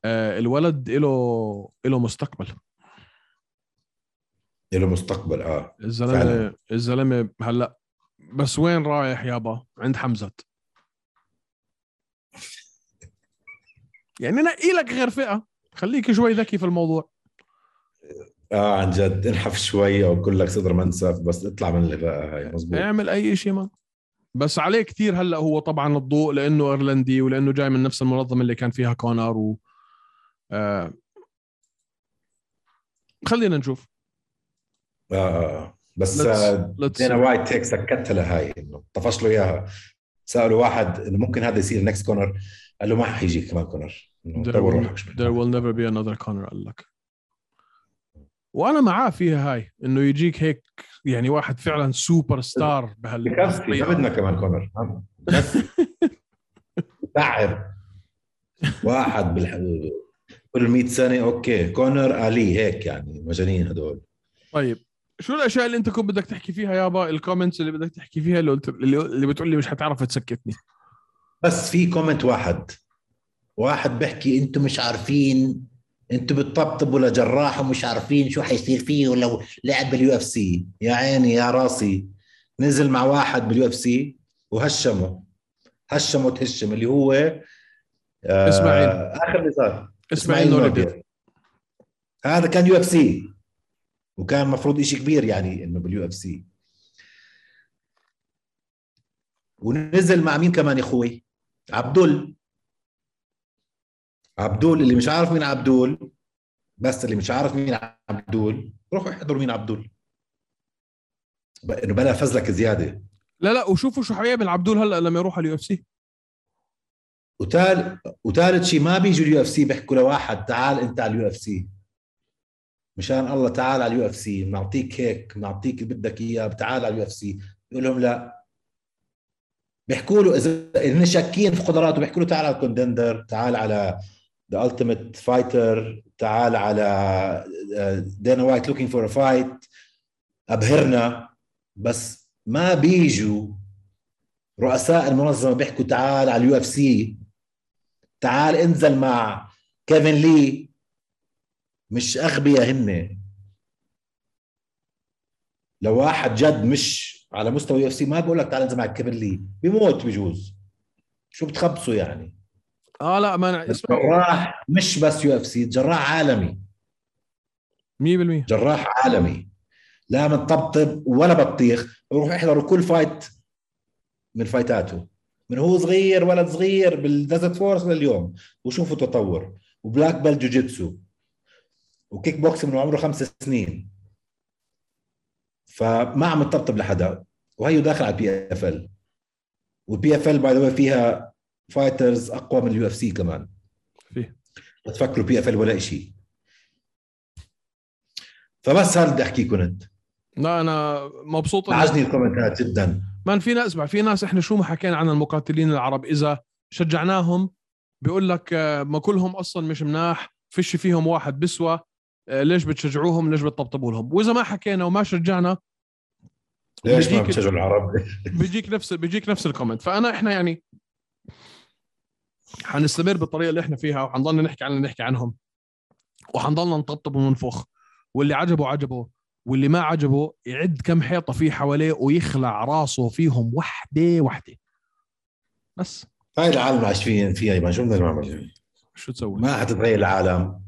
Speaker 2: آه الولد له له مستقبل
Speaker 3: له مستقبل اه
Speaker 2: الزلمه
Speaker 3: فعلاً.
Speaker 2: الزلمه هلا بس وين رايح يابا عند حمزه يعني نقي لك غير فئه خليك شوي ذكي في الموضوع
Speaker 3: اه عن جد انحف شوي او كلك صدر منسف بس اطلع من الغاء هاي مزبوط
Speaker 2: اعمل اي شيء ما بس عليه كثير هلا هو طبعا الضوء لانه ايرلندي ولانه جاي من نفس المنظمه اللي كان فيها كونر و آه خلينا نشوف
Speaker 3: اه اه بس
Speaker 2: Let's-
Speaker 3: آه،
Speaker 2: let's
Speaker 3: دينا
Speaker 2: see.
Speaker 3: وايت هيك سكتها لهاي انه طفش له اياها سالوا واحد انه ممكن هذا يصير نكست كونر قال له ما حيجي كمان كونر إنه
Speaker 2: There
Speaker 3: طور
Speaker 2: will-
Speaker 3: روحك شوي.
Speaker 2: there will never be another كونر قال لك وانا معاه فيها هاي انه يجيك هيك يعني واحد فعلا سوبر ستار
Speaker 3: بكفي ما
Speaker 2: بهال
Speaker 3: بدنا كمان كونر عم. بس تعب واحد بالح- كل 100 سنه اوكي كونر الي هيك يعني مجانين هدول
Speaker 2: طيب شو الاشياء اللي انت كنت بدك تحكي فيها يابا الكومنتس اللي بدك تحكي فيها اللي قلت اللي اللي بتقول لي مش حتعرف تسكتني
Speaker 3: بس في كومنت واحد واحد بحكي انتم مش عارفين انتم بتطبطبوا لجراح ومش عارفين شو حيصير فيه لو لعب باليو اف سي يا عيني يا راسي نزل مع واحد باليو اف سي وهشمه هشمه تهشم اللي هو آه،
Speaker 2: إسماعيل.
Speaker 3: اخر نزال
Speaker 2: اسماعيل نوربير
Speaker 3: هذا كان يو اف سي وكان المفروض إشي كبير يعني انه باليو اف سي ونزل مع مين كمان يا اخوي عبدول عبدول اللي مش عارف مين عبدول بس اللي مش عارف مين عبدول روحوا احضروا مين عبدول ب- انه بلا فزلك زياده
Speaker 2: لا لا وشوفوا شو حيعمل عبدول هلا لما يروح على اليو اف سي
Speaker 3: وتال وثالث شيء ما بيجوا اليو اف سي بيحكوا لواحد تعال انت على اليو اف سي مشان الله تعال على اليو اف سي بنعطيك هيك بنعطيك اللي بدك اياه تعال على اليو اف سي بيقول لهم لا بيحكوا له اذا هن شاكين في قدراته بيحكوا له تعال على الكوندندر تعال على ذا التيميت فايتر تعال على آه، دينا وايت لوكينج فور ا فايت ابهرنا بس ما بيجوا رؤساء المنظمه بيحكوا تعال على اليو اف سي تعال انزل مع كيفن لي مش اغبياء هن لو واحد جد مش على مستوى يو اف سي ما بقول لك تعال انزل مع كيفن لي بيموت بجوز شو بتخبصوا يعني
Speaker 2: اه لا ما أنا- اسمع
Speaker 3: جراح مش بس يو اف سي جراح عالمي
Speaker 2: 100%
Speaker 3: جراح عالمي لا مطبطب ولا بطيخ بروح يحضروا كل فايت من فايتاته من هو صغير ولد صغير بالديزرت فورس لليوم وشوفوا تطور وبلاك بيلت جوجيتسو وكيك بوكس من عمره خمس سنين فما عم تطبطب لحدا وهيو داخل على البي اف ال والبي اف ال باي ذا فيها فايترز اقوى من اليو اف سي كمان
Speaker 2: فيه
Speaker 3: بتفكروا بي اف ال ولا شيء فبس هذا بدي احكيه كنت
Speaker 2: لا انا مبسوط إنه-
Speaker 3: عجبني الكومنتات جدا
Speaker 2: ما في ناس اسمع في ناس احنا شو ما حكينا عن المقاتلين العرب اذا شجعناهم بيقول لك آه، ما كلهم اصلا مش مناح فيش فيهم واحد بسوى آه، ليش بتشجعوهم ليش بتطبطبوا لهم واذا ما حكينا وما شجعنا
Speaker 3: ليش ما
Speaker 2: بيجيك-
Speaker 3: بتشجعوا العرب؟
Speaker 2: بيجيك نفس بيجيك نفس الكومنت فانا احنا يعني حنستمر بالطريقه اللي احنا فيها وحنضلنا نحكي عن اللي نحكي عنهم وحنضلنا نطبطب وننفخ واللي عجبه عجبه واللي ما عجبه يعد كم حيطه فيه حواليه ويخلع راسه فيهم وحده وحده بس
Speaker 3: هاي العالم اللي عايش فيه فيها ما شو بدنا نعمل يعني؟
Speaker 2: شو تسوي
Speaker 3: ما حتتغير العالم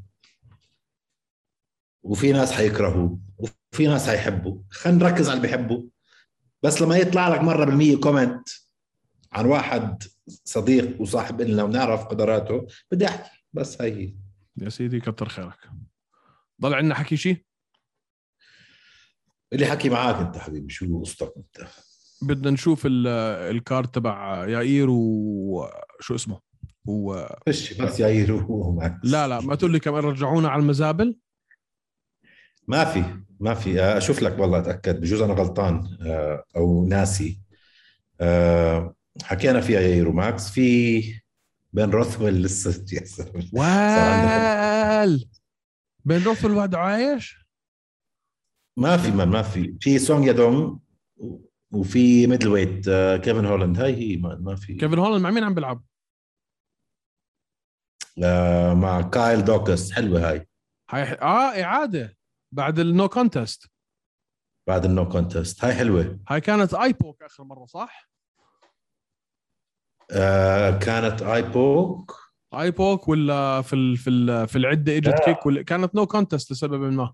Speaker 3: وفي ناس حيكرهوا وفي ناس حيحبوا خلينا نركز على اللي بيحبوا بس لما يطلع لك مره بالمية كومنت عن واحد صديق وصاحب إلنا ونعرف قدراته بدي احكي بس هاي هي
Speaker 2: يا سيدي كتر خيرك ضل عندنا حكي شيء
Speaker 3: اللي حكي معاك انت حبيبي شو قصتك انت
Speaker 2: بدنا نشوف ال- الكارد تبع يائير وشو اسمه و...
Speaker 3: فش بس يا يروحوا معك
Speaker 2: لا لا ما تقول لي كمان رجعونا على المزابل
Speaker 3: ما في ما في اشوف لك والله اتاكد بجوز انا غلطان آه، او ناسي آه، حكينا فيها يا ايرو ماكس في بن روثويل لسه [laughs] يا زلمة.
Speaker 2: وال بين روفل وعد عايش
Speaker 3: ما في من ما في في سونج يادونغ وفي ميدل ويت آه، كيفن هولاند هاي هي ما, ما في
Speaker 2: كيفن هولاند مع مين عم بيلعب
Speaker 3: آه، مع كايل دوكس حلوه هاي
Speaker 2: هاي اه اعاده بعد النو كونتست
Speaker 3: بعد النو كونتست هاي حلوه
Speaker 2: هاي كانت اي بوك اخر مره صح
Speaker 3: آه، كانت اي بوك
Speaker 2: اي بوك ولا في ال في ال في العده اجت كيك ولا كانت نو كونتست لسبب ما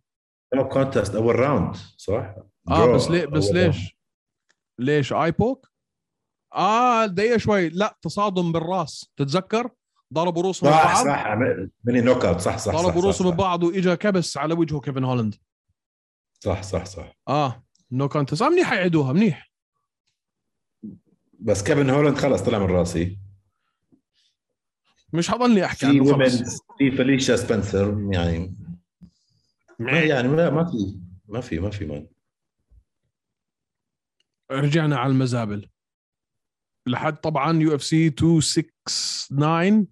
Speaker 3: نو كونتست اول راوند صح؟
Speaker 2: اه
Speaker 3: Draw
Speaker 2: بس ليه بس
Speaker 3: أول round.
Speaker 2: ليش ليش اي بوك اه دقيقه شوي لا تصادم بالراس تتذكر ضربوا رؤوسهم
Speaker 3: صح
Speaker 2: ببعض
Speaker 3: صح عمل- مني نوك اوت صح صح صح
Speaker 2: ضربوا رؤوسهم
Speaker 3: صح, صح,
Speaker 2: ببعض واجا كبس على وجهه كيفن هولاند
Speaker 3: صح صح صح
Speaker 2: اه نو كونتست آه منيح يعيدوها منيح
Speaker 3: بس كيفن هولاند خلص طلع من راسي
Speaker 2: مش حضلني احكي
Speaker 3: في
Speaker 2: عنه
Speaker 3: ومن
Speaker 2: خلص
Speaker 3: في فelicia سبنسر يعني ما يعني ما, ما في ما في ما في مان
Speaker 2: رجعنا على المزابل لحد طبعا يو اف سي 269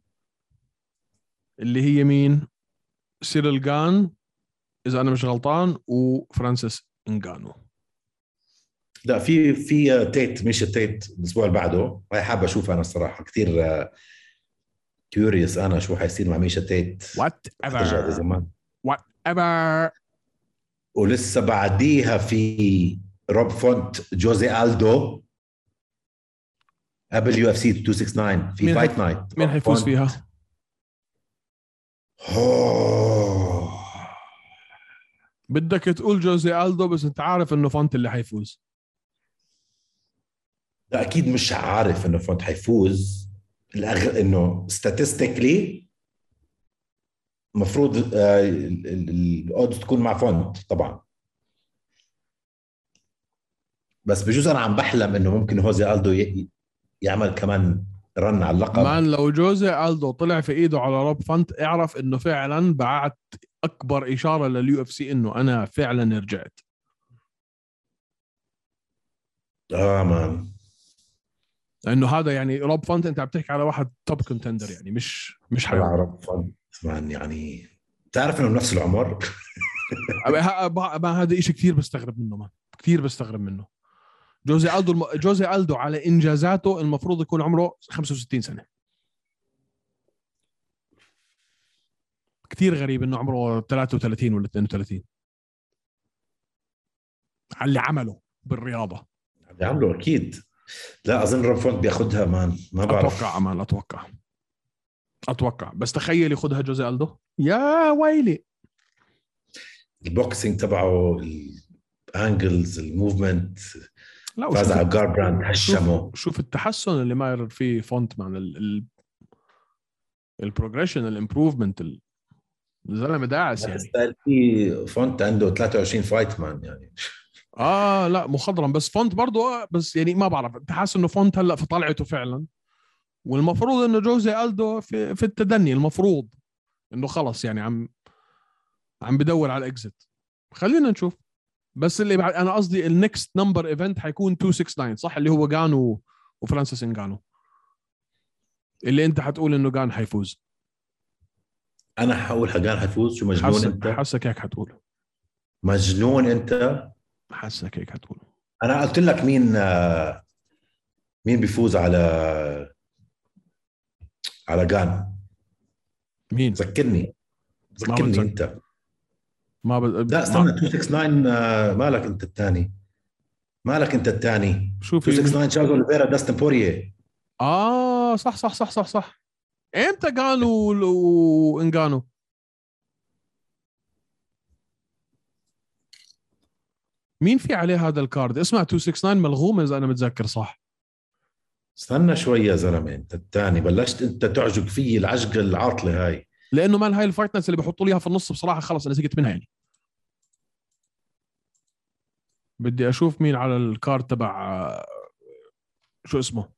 Speaker 2: اللي هي مين؟ سيريل جان اذا انا مش غلطان وفرانسيس انجانو
Speaker 3: لا في في تيت مش تيت الاسبوع اللي بعده هاي حابه اشوفها انا الصراحه كثير كيوريوس انا آه، شو حيصير مع ميشا تيت
Speaker 2: وات
Speaker 3: رجع
Speaker 2: ايفر
Speaker 3: لزمان
Speaker 2: ايفر
Speaker 3: ولسه بعديها في روب فونت جوزي الدو قبل يو اف سي 269 في
Speaker 2: مين
Speaker 3: فايت
Speaker 2: حي-
Speaker 3: نايت
Speaker 2: مين حيفوز فيها؟
Speaker 3: أوه.
Speaker 2: بدك تقول جوزي الدو بس انت عارف انه فانت اللي حيفوز
Speaker 3: لا اكيد مش عارف انه فونت حيفوز الأغ... انه statistically آه، المفروض الاودز تكون مع فونت طبعا بس بجوز انا عم بحلم انه ممكن هوزي الدو ي... يعمل كمان رن على اللقب
Speaker 2: مان لو جوزي الدو طلع في ايده على روب فانت اعرف انه فعلا بعت اكبر اشاره لليو اف سي انه انا فعلا رجعت
Speaker 3: اه مان
Speaker 2: لانه هذا يعني روب فانت انت عم تحكي على واحد توب كونتندر يعني مش مش حيوان
Speaker 3: بعرف فونت مان يعني تعرف انه بنفس العمر
Speaker 2: أب- ه- أب- ما هذا شيء كثير بستغرب منه ما كثير بستغرب منه جوزي الدو الم... جوزي الدو على انجازاته المفروض يكون عمره 65 سنه كثير غريب انه عمره 33 ولا 32 على اللي عمله بالرياضه
Speaker 3: عمله اكيد لا اظن روب فونت بياخذها مان ما بعرف
Speaker 2: اتوقع امان اتوقع اتوقع بس تخيل ياخذها جوزي الدو يا ويلي
Speaker 3: البوكسينج تبعه الانجلز الموفمنت
Speaker 2: لا
Speaker 3: فاز
Speaker 2: وشوف-
Speaker 3: على جاربراند هشمه
Speaker 2: شوف التحسن اللي ماير فيه فونت مان ال- ال- البروجريشن الامبروفمنت ال- الزلمه داعس يعني
Speaker 3: يعني في فونت عنده 23 فايت مان يعني
Speaker 2: اه لا مخضرم بس فونت برضه آه، بس يعني ما بعرف انت حاسس انه فونت هلا في طلعته فعلا والمفروض انه جوزي الدو في, في التدني المفروض انه خلص يعني عم عم بدور على الاكزit خلينا نشوف بس اللي بعد انا قصدي النكست نمبر ايفنت حيكون 269 صح اللي هو جان و... وفرانسيس انجانو اللي انت حتقول انه جان حيفوز
Speaker 3: انا حقول حقان حفوز شو مجنون
Speaker 2: حاسك
Speaker 3: انت
Speaker 2: حاسك هيك حتقول
Speaker 3: مجنون انت
Speaker 2: حاسك هيك حتقول
Speaker 3: انا قلت لك مين آه، مين بيفوز على على جان
Speaker 2: مين
Speaker 3: ذكرني ذكرني
Speaker 2: بتذكر.
Speaker 3: انت
Speaker 2: ما ب...
Speaker 3: لا استنى 269 آه، مالك انت الثاني مالك انت الثاني
Speaker 2: شوف
Speaker 3: 269 شاغو اوليفيرا داستن بوريه
Speaker 2: اه صح صح صح صح صح امتى قالوا ال- وانجانو مين في عليه هذا الكارد اسمع 269 ملغومه اذا انا متذكر صح
Speaker 3: استنى شوي يا زلمه انت الثاني بلشت انت تعجق في العجقه العاطله هاي
Speaker 2: لانه مان هاي الفايت نايتس اللي بحطوا لي اياها في النص بصراحه خلص انا زهقت منها يعني بدي اشوف مين على الكارد تبع آه، شو اسمه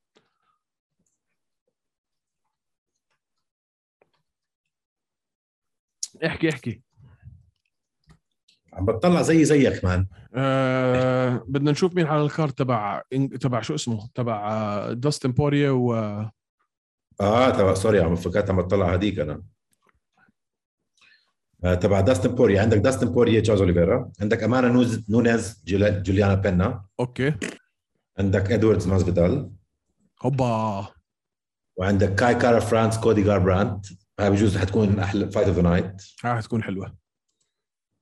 Speaker 2: احكي احكي
Speaker 3: عم بتطلع زي زيك مان
Speaker 2: آه بدنا نشوف مين على الكارت تبع إن- تبع شو اسمه تبع آه، داستن بوريا و
Speaker 3: اه تبع سوري عم فكرت عم بتطلع هديك انا آه، تبع داستن بوريا عندك داستن بوريا تشارلز اوليفيرا عندك امانا نوز نونيز جولا- جوليانا بينا
Speaker 2: اوكي
Speaker 3: عندك ادواردز ماسفيدال
Speaker 2: هوبا
Speaker 3: وعندك كاي كارا فرانس كودي جاربراند هاي بجوز حتكون احلى فايت اوف ذا نايت
Speaker 2: هاي حتكون حلوه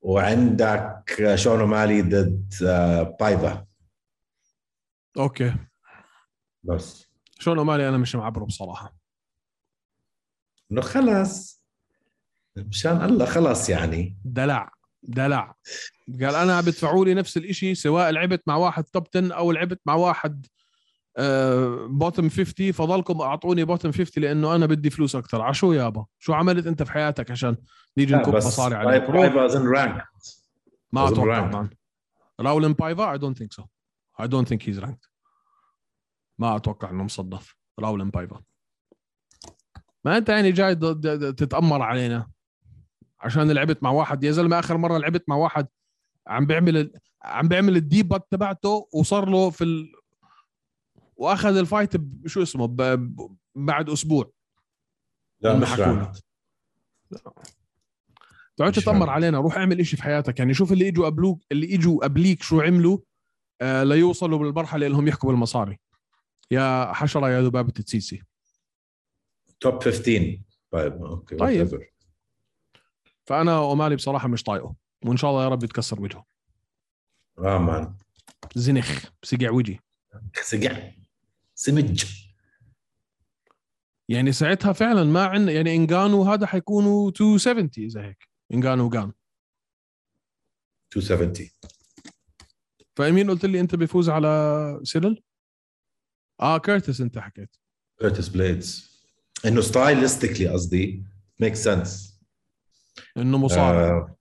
Speaker 3: وعندك شون مالي ضد آه، بايفا
Speaker 2: اوكي
Speaker 3: بس
Speaker 2: شون مالي انا مش معبره بصراحه
Speaker 3: انه خلص مشان الله خلص يعني
Speaker 2: دلع دلع قال انا بدفعوا لي نفس الشيء سواء لعبت مع واحد توب 10 او لعبت مع واحد آه، بوتم 50 فضلكم اعطوني بوتم 50 لانه انا بدي فلوس اكثر عشو يابا شو عملت انت في حياتك عشان نيجي
Speaker 3: لا،
Speaker 2: نكب
Speaker 3: بس طيب
Speaker 2: مصاري عليك روح.
Speaker 3: بايفا اظن رانك
Speaker 2: ما
Speaker 3: أظن
Speaker 2: اتوقع
Speaker 3: ranked.
Speaker 2: طبعا راولن بايفا اي دونت ثينك سو اي دونت ثينك هيز رانكد ما اتوقع انه مصنف راولن بايفا ما انت يعني جاي ض- ض- ض- تتامر علينا عشان لعبت مع واحد يا زلمه اخر مره لعبت مع واحد عم بيعمل ال- عم بيعمل الديبات تبعته وصار له في ال... واخذ الفايت بشو اسمه ب... ب- بعد اسبوع
Speaker 3: لا
Speaker 2: هم
Speaker 3: مش
Speaker 2: حكونا.
Speaker 3: رانك
Speaker 2: تقعدش
Speaker 3: مش
Speaker 2: تتامر
Speaker 3: عارف.
Speaker 2: علينا روح اعمل إشي في حياتك يعني شوف اللي اجوا قبلوك اللي اجوا قبليك شو عملوا آه ليوصلوا بالمرحله اللي هم يحكوا بالمصاري يا حشره يا ذبابه السيسي
Speaker 3: توب 15 طيب اوكي
Speaker 2: طيب.
Speaker 3: whatever.
Speaker 2: فانا اومالي بصراحه مش طايقه وان شاء الله يا رب يتكسر وجهه
Speaker 3: اه مان
Speaker 2: زنخ سقع وجهي
Speaker 3: سقع سمج
Speaker 2: يعني ساعتها فعلا ما عندنا يعني انجانو هذا حيكونوا 270 اذا هيك انجانو وجان
Speaker 3: 270
Speaker 2: فمين قلت لي انت بيفوز على سيرل؟ اه كيرتس انت حكيت
Speaker 3: كيرتس بليدز انه ستايلستيكلي قصدي ميك سنس
Speaker 2: انه مصارع آه.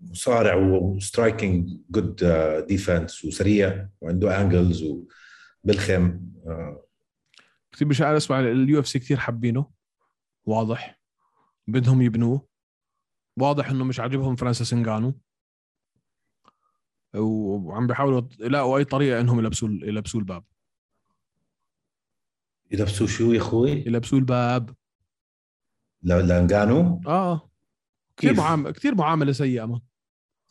Speaker 3: مصارع وسترايكنج جود ديفنس آه، وسريع وعنده انجلز وبالخم آه،
Speaker 2: كثير مش عارف اسمع اليو اف سي كثير حابينه واضح بدهم يبنوه واضح انه مش عاجبهم فرانسيس انجانو وعم بيحاولوا يلاقوا اي طريقه انهم يلبسوا يلبسوا الباب
Speaker 3: يلبسوا شو يا اخوي؟
Speaker 2: يلبسوا الباب
Speaker 3: لانجانو
Speaker 2: اه كثير
Speaker 3: كيف؟
Speaker 2: معامله كثير معامله سيئه ما.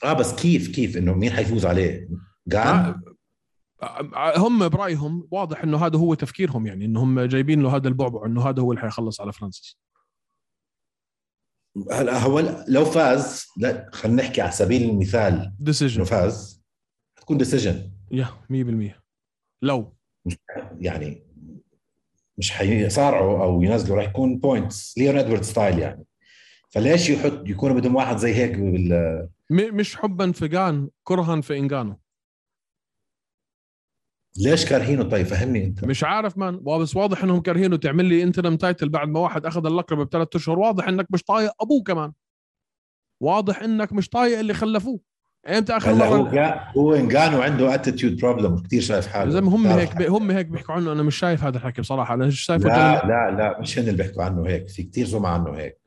Speaker 3: اه بس كيف كيف انه مين حيفوز عليه؟ جان؟
Speaker 2: آه، هم برايهم واضح انه هذا هو تفكيرهم يعني انه هم جايبين له هذا البعبع انه هذا هو اللي حيخلص على فرنسيس
Speaker 3: هلا هو لو فاز لا خلينا نحكي على سبيل المثال
Speaker 2: ديسيجن
Speaker 3: انه فاز حتكون ديسيجن
Speaker 2: يا 100% لو
Speaker 3: يعني مش حيصارعوا او ينزلوا راح يكون بوينتس ليون ادوارد ستايل يعني فليش يحط يكونوا بدهم واحد زي هيك بال...
Speaker 2: م- مش حبا في جان كرها في انجانو
Speaker 3: ليش كارهينه طيب فهمني انت
Speaker 2: مش عارف مان بس واضح انهم كارهينه تعمل لي انترم تايتل بعد ما واحد اخذ اللقب بثلاث اشهر واضح انك مش طايق ابوه كمان واضح انك مش طايق اللي خلفوه امتى اخر
Speaker 3: هلا هو
Speaker 2: مره
Speaker 3: كا- هو انجانو عنده اتيتيود بروبلم كثير شايف حاله
Speaker 2: زي ما هم
Speaker 3: بتعرف
Speaker 2: هيك بي هم هيك بيحكوا عنه انا مش شايف هذا الحكي بصراحه انا مش شايف
Speaker 3: لا لا لا مش هن اللي بيحكوا عنه هيك في كثير سمعة عنه هيك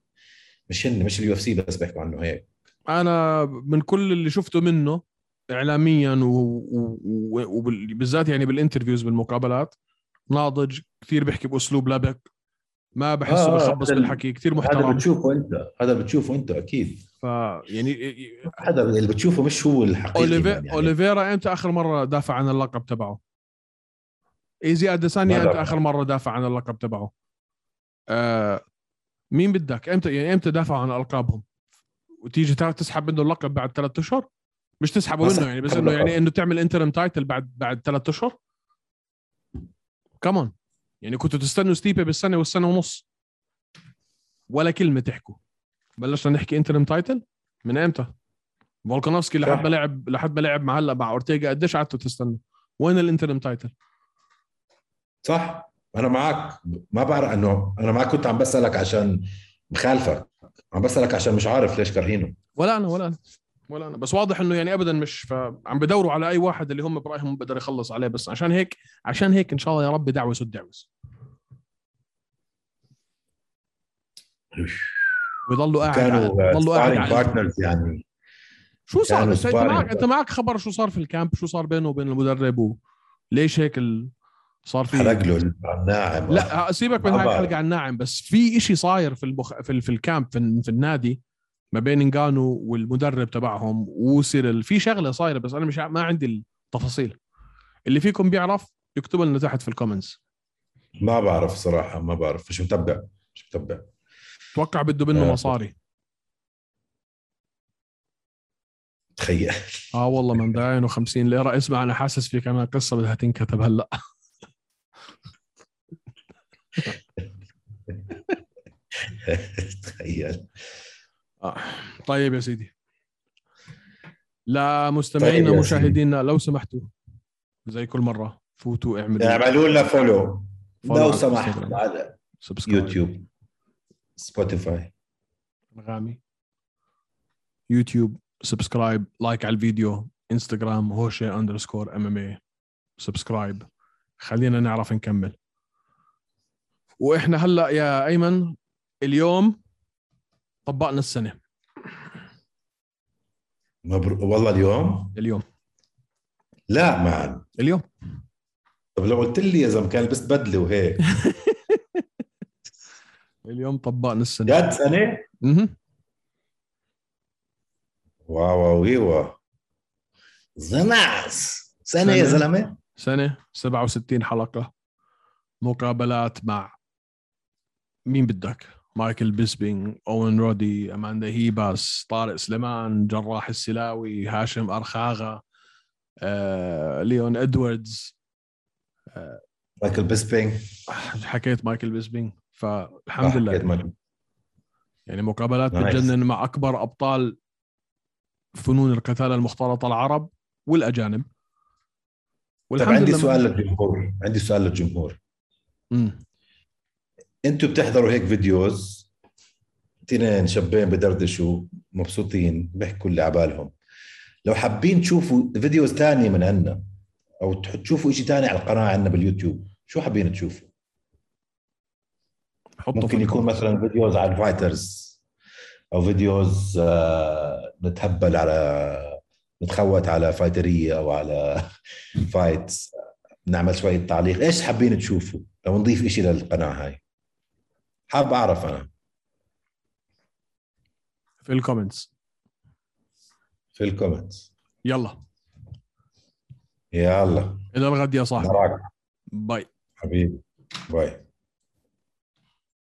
Speaker 3: مش هن مش اليو اف سي بس بيحكوا عنه هيك
Speaker 2: انا من كل اللي شفته منه اعلاميا وبالذات يعني بالانترفيوز بالمقابلات ناضج كثير بيحكي باسلوب لبق ما بحسه
Speaker 3: آه،
Speaker 2: بخبص
Speaker 3: هذا-
Speaker 2: بالحكي كثير
Speaker 3: هذا
Speaker 2: محترم
Speaker 3: بتشوفه انت هذا بتشوفه انت اكيد
Speaker 2: ف يعني
Speaker 3: هذا اللي بتشوفه مش هو الحقيقي
Speaker 2: اوليفي...
Speaker 3: يعني.
Speaker 2: اوليفيرا امتى اخر مره دافع عن اللقب تبعه؟ ايزي اديسانيا
Speaker 3: ما
Speaker 2: امتى
Speaker 3: دافع.
Speaker 2: اخر مره دافع عن اللقب تبعه؟ آه... مين بدك؟ امتى يعني امتى دافعوا عن القابهم؟ وتيجي ترى تسحب منه اللقب بعد ثلاث اشهر؟ مش تسحبه
Speaker 3: ما
Speaker 2: منه يعني بس
Speaker 3: سحب آه.
Speaker 2: انه يعني
Speaker 3: اللقب.
Speaker 2: انه تعمل انترم تايتل بعد بعد ثلاث اشهر؟ كمان يعني كنتوا تستنوا ستيبي بالسنه والسنه ونص ولا كلمه تحكوا بلشنا نحكي انترم تايتل من امتى؟ فولكانوفسكي
Speaker 3: صح.
Speaker 2: لحد ما لعب لحد ما لعب مع هلا مع اورتيجا قديش قعدتوا تستنوا؟ وين الانترم تايتل؟
Speaker 3: صح انا معك ما بعرف انه انا معك كنت عم بسالك عشان مخالفك عم بسالك عشان مش عارف ليش كارهينه
Speaker 2: ولا انا ولا انا ولا انا بس واضح انه يعني ابدا مش فعم بدوروا على اي واحد اللي هم برايهم بقدر يخلص عليه بس عشان هيك عشان هيك ان شاء الله يا رب دعوس الدعوس ويضلوا قاعد
Speaker 3: كانوا
Speaker 2: يضلوا قاعد
Speaker 3: سبارينج
Speaker 2: على-
Speaker 3: بارتنرز يعني
Speaker 2: شو صار
Speaker 3: كانوا
Speaker 2: بس انت
Speaker 3: sparring
Speaker 2: معك
Speaker 3: partners.
Speaker 2: انت معك خبر شو صار في الكامب شو صار بينه وبين المدرب و- ليش هيك ال... صار في
Speaker 3: حرق له الناعم
Speaker 2: لا سيبك من
Speaker 3: ما
Speaker 2: هاي
Speaker 3: بعرف.
Speaker 2: الحلقه عن الناعم بس في إشي صاير في البخ... في, ال... في الكامب في, في النادي ما بين انجانو والمدرب تبعهم وسيرل في شغله صايره بس انا مش ع- ما عندي التفاصيل اللي فيكم بيعرف يكتب لنا تحت في الكومنتس
Speaker 3: ما بعرف صراحه ما بعرف مش متبع مش متبع
Speaker 2: اتوقع بده منه
Speaker 3: آه.
Speaker 2: مصاري
Speaker 3: تخيل [laughs]
Speaker 2: اه والله من داين و50 ليره اسمع انا حاسس في كمان قصه بدها تنكتب هلا
Speaker 3: تخيل
Speaker 2: طيب يا سيدي لا مستمعينا
Speaker 3: طيب يا
Speaker 2: مشاهدينا لو سمحتوا زي كل مره فوتوا اعملوا
Speaker 3: اعملوا لنا فولو
Speaker 2: فولو
Speaker 3: لو
Speaker 2: على
Speaker 3: سمحت
Speaker 2: Instagram.
Speaker 3: على
Speaker 2: سبسكرايب
Speaker 3: يوتيوب سبوتيفاي
Speaker 2: انغامي يوتيوب سبسكرايب لايك على الفيديو انستغرام هوشه اندرسكور ام ام اي سبسكرايب خلينا نعرف نكمل واحنا هلا يا ايمن اليوم طبقنا السنه
Speaker 3: مبروك والله اليوم
Speaker 2: اليوم
Speaker 3: لا مان
Speaker 2: اليوم
Speaker 3: طب لو قلت لي يا زلمه كان لبست بدله وهيك
Speaker 2: اليوم طبقنا السنه
Speaker 3: جد سنه
Speaker 2: مهم.
Speaker 3: واو واو ويوا زناس سنه يا
Speaker 2: سنة.
Speaker 3: زلمه
Speaker 2: سنه 67 حلقه مقابلات مع مين بدك مايكل بيسبينج اوين رودي اماندا هيباس طارق سليمان جراح السلاوي هاشم ارخاغا آه، ليون ادواردز
Speaker 3: مايكل بيسبينج
Speaker 2: حكيت مايكل بيسبينج فالحمد لله
Speaker 3: حكيت مايكل.
Speaker 2: يعني مقابلات
Speaker 3: نايس.
Speaker 2: بتجنن مع اكبر ابطال فنون القتال المختلطه العرب والاجانب
Speaker 3: طب طيب، عندي سؤال للجمهور عندي سؤال للجمهور
Speaker 2: مم.
Speaker 3: انتوا بتحضروا هيك فيديوز تنين شابين بدردشوا مبسوطين بيحكوا اللي عبالهم لو حابين تشوفوا فيديوز تانية من عنا او تح- تشوفوا شيء تاني على القناه عنا باليوتيوب شو حابين تشوفوا
Speaker 2: حطه
Speaker 3: ممكن
Speaker 2: في
Speaker 3: يكون
Speaker 2: الكومنت.
Speaker 3: مثلا فيديوز عن فايترز او فيديوز آه، نتهبل على نتخوت على فايتريه او على [laughs] فايتس نعمل شويه تعليق ايش حابين تشوفوا لو نضيف إشي للقناه هاي حاب اعرف انا
Speaker 2: في الكومنتس
Speaker 3: في الكومنتس
Speaker 2: يلا
Speaker 3: يلا
Speaker 2: الى الغد يا صاحبي
Speaker 3: نراك نعم.
Speaker 2: باي
Speaker 3: حبيبي باي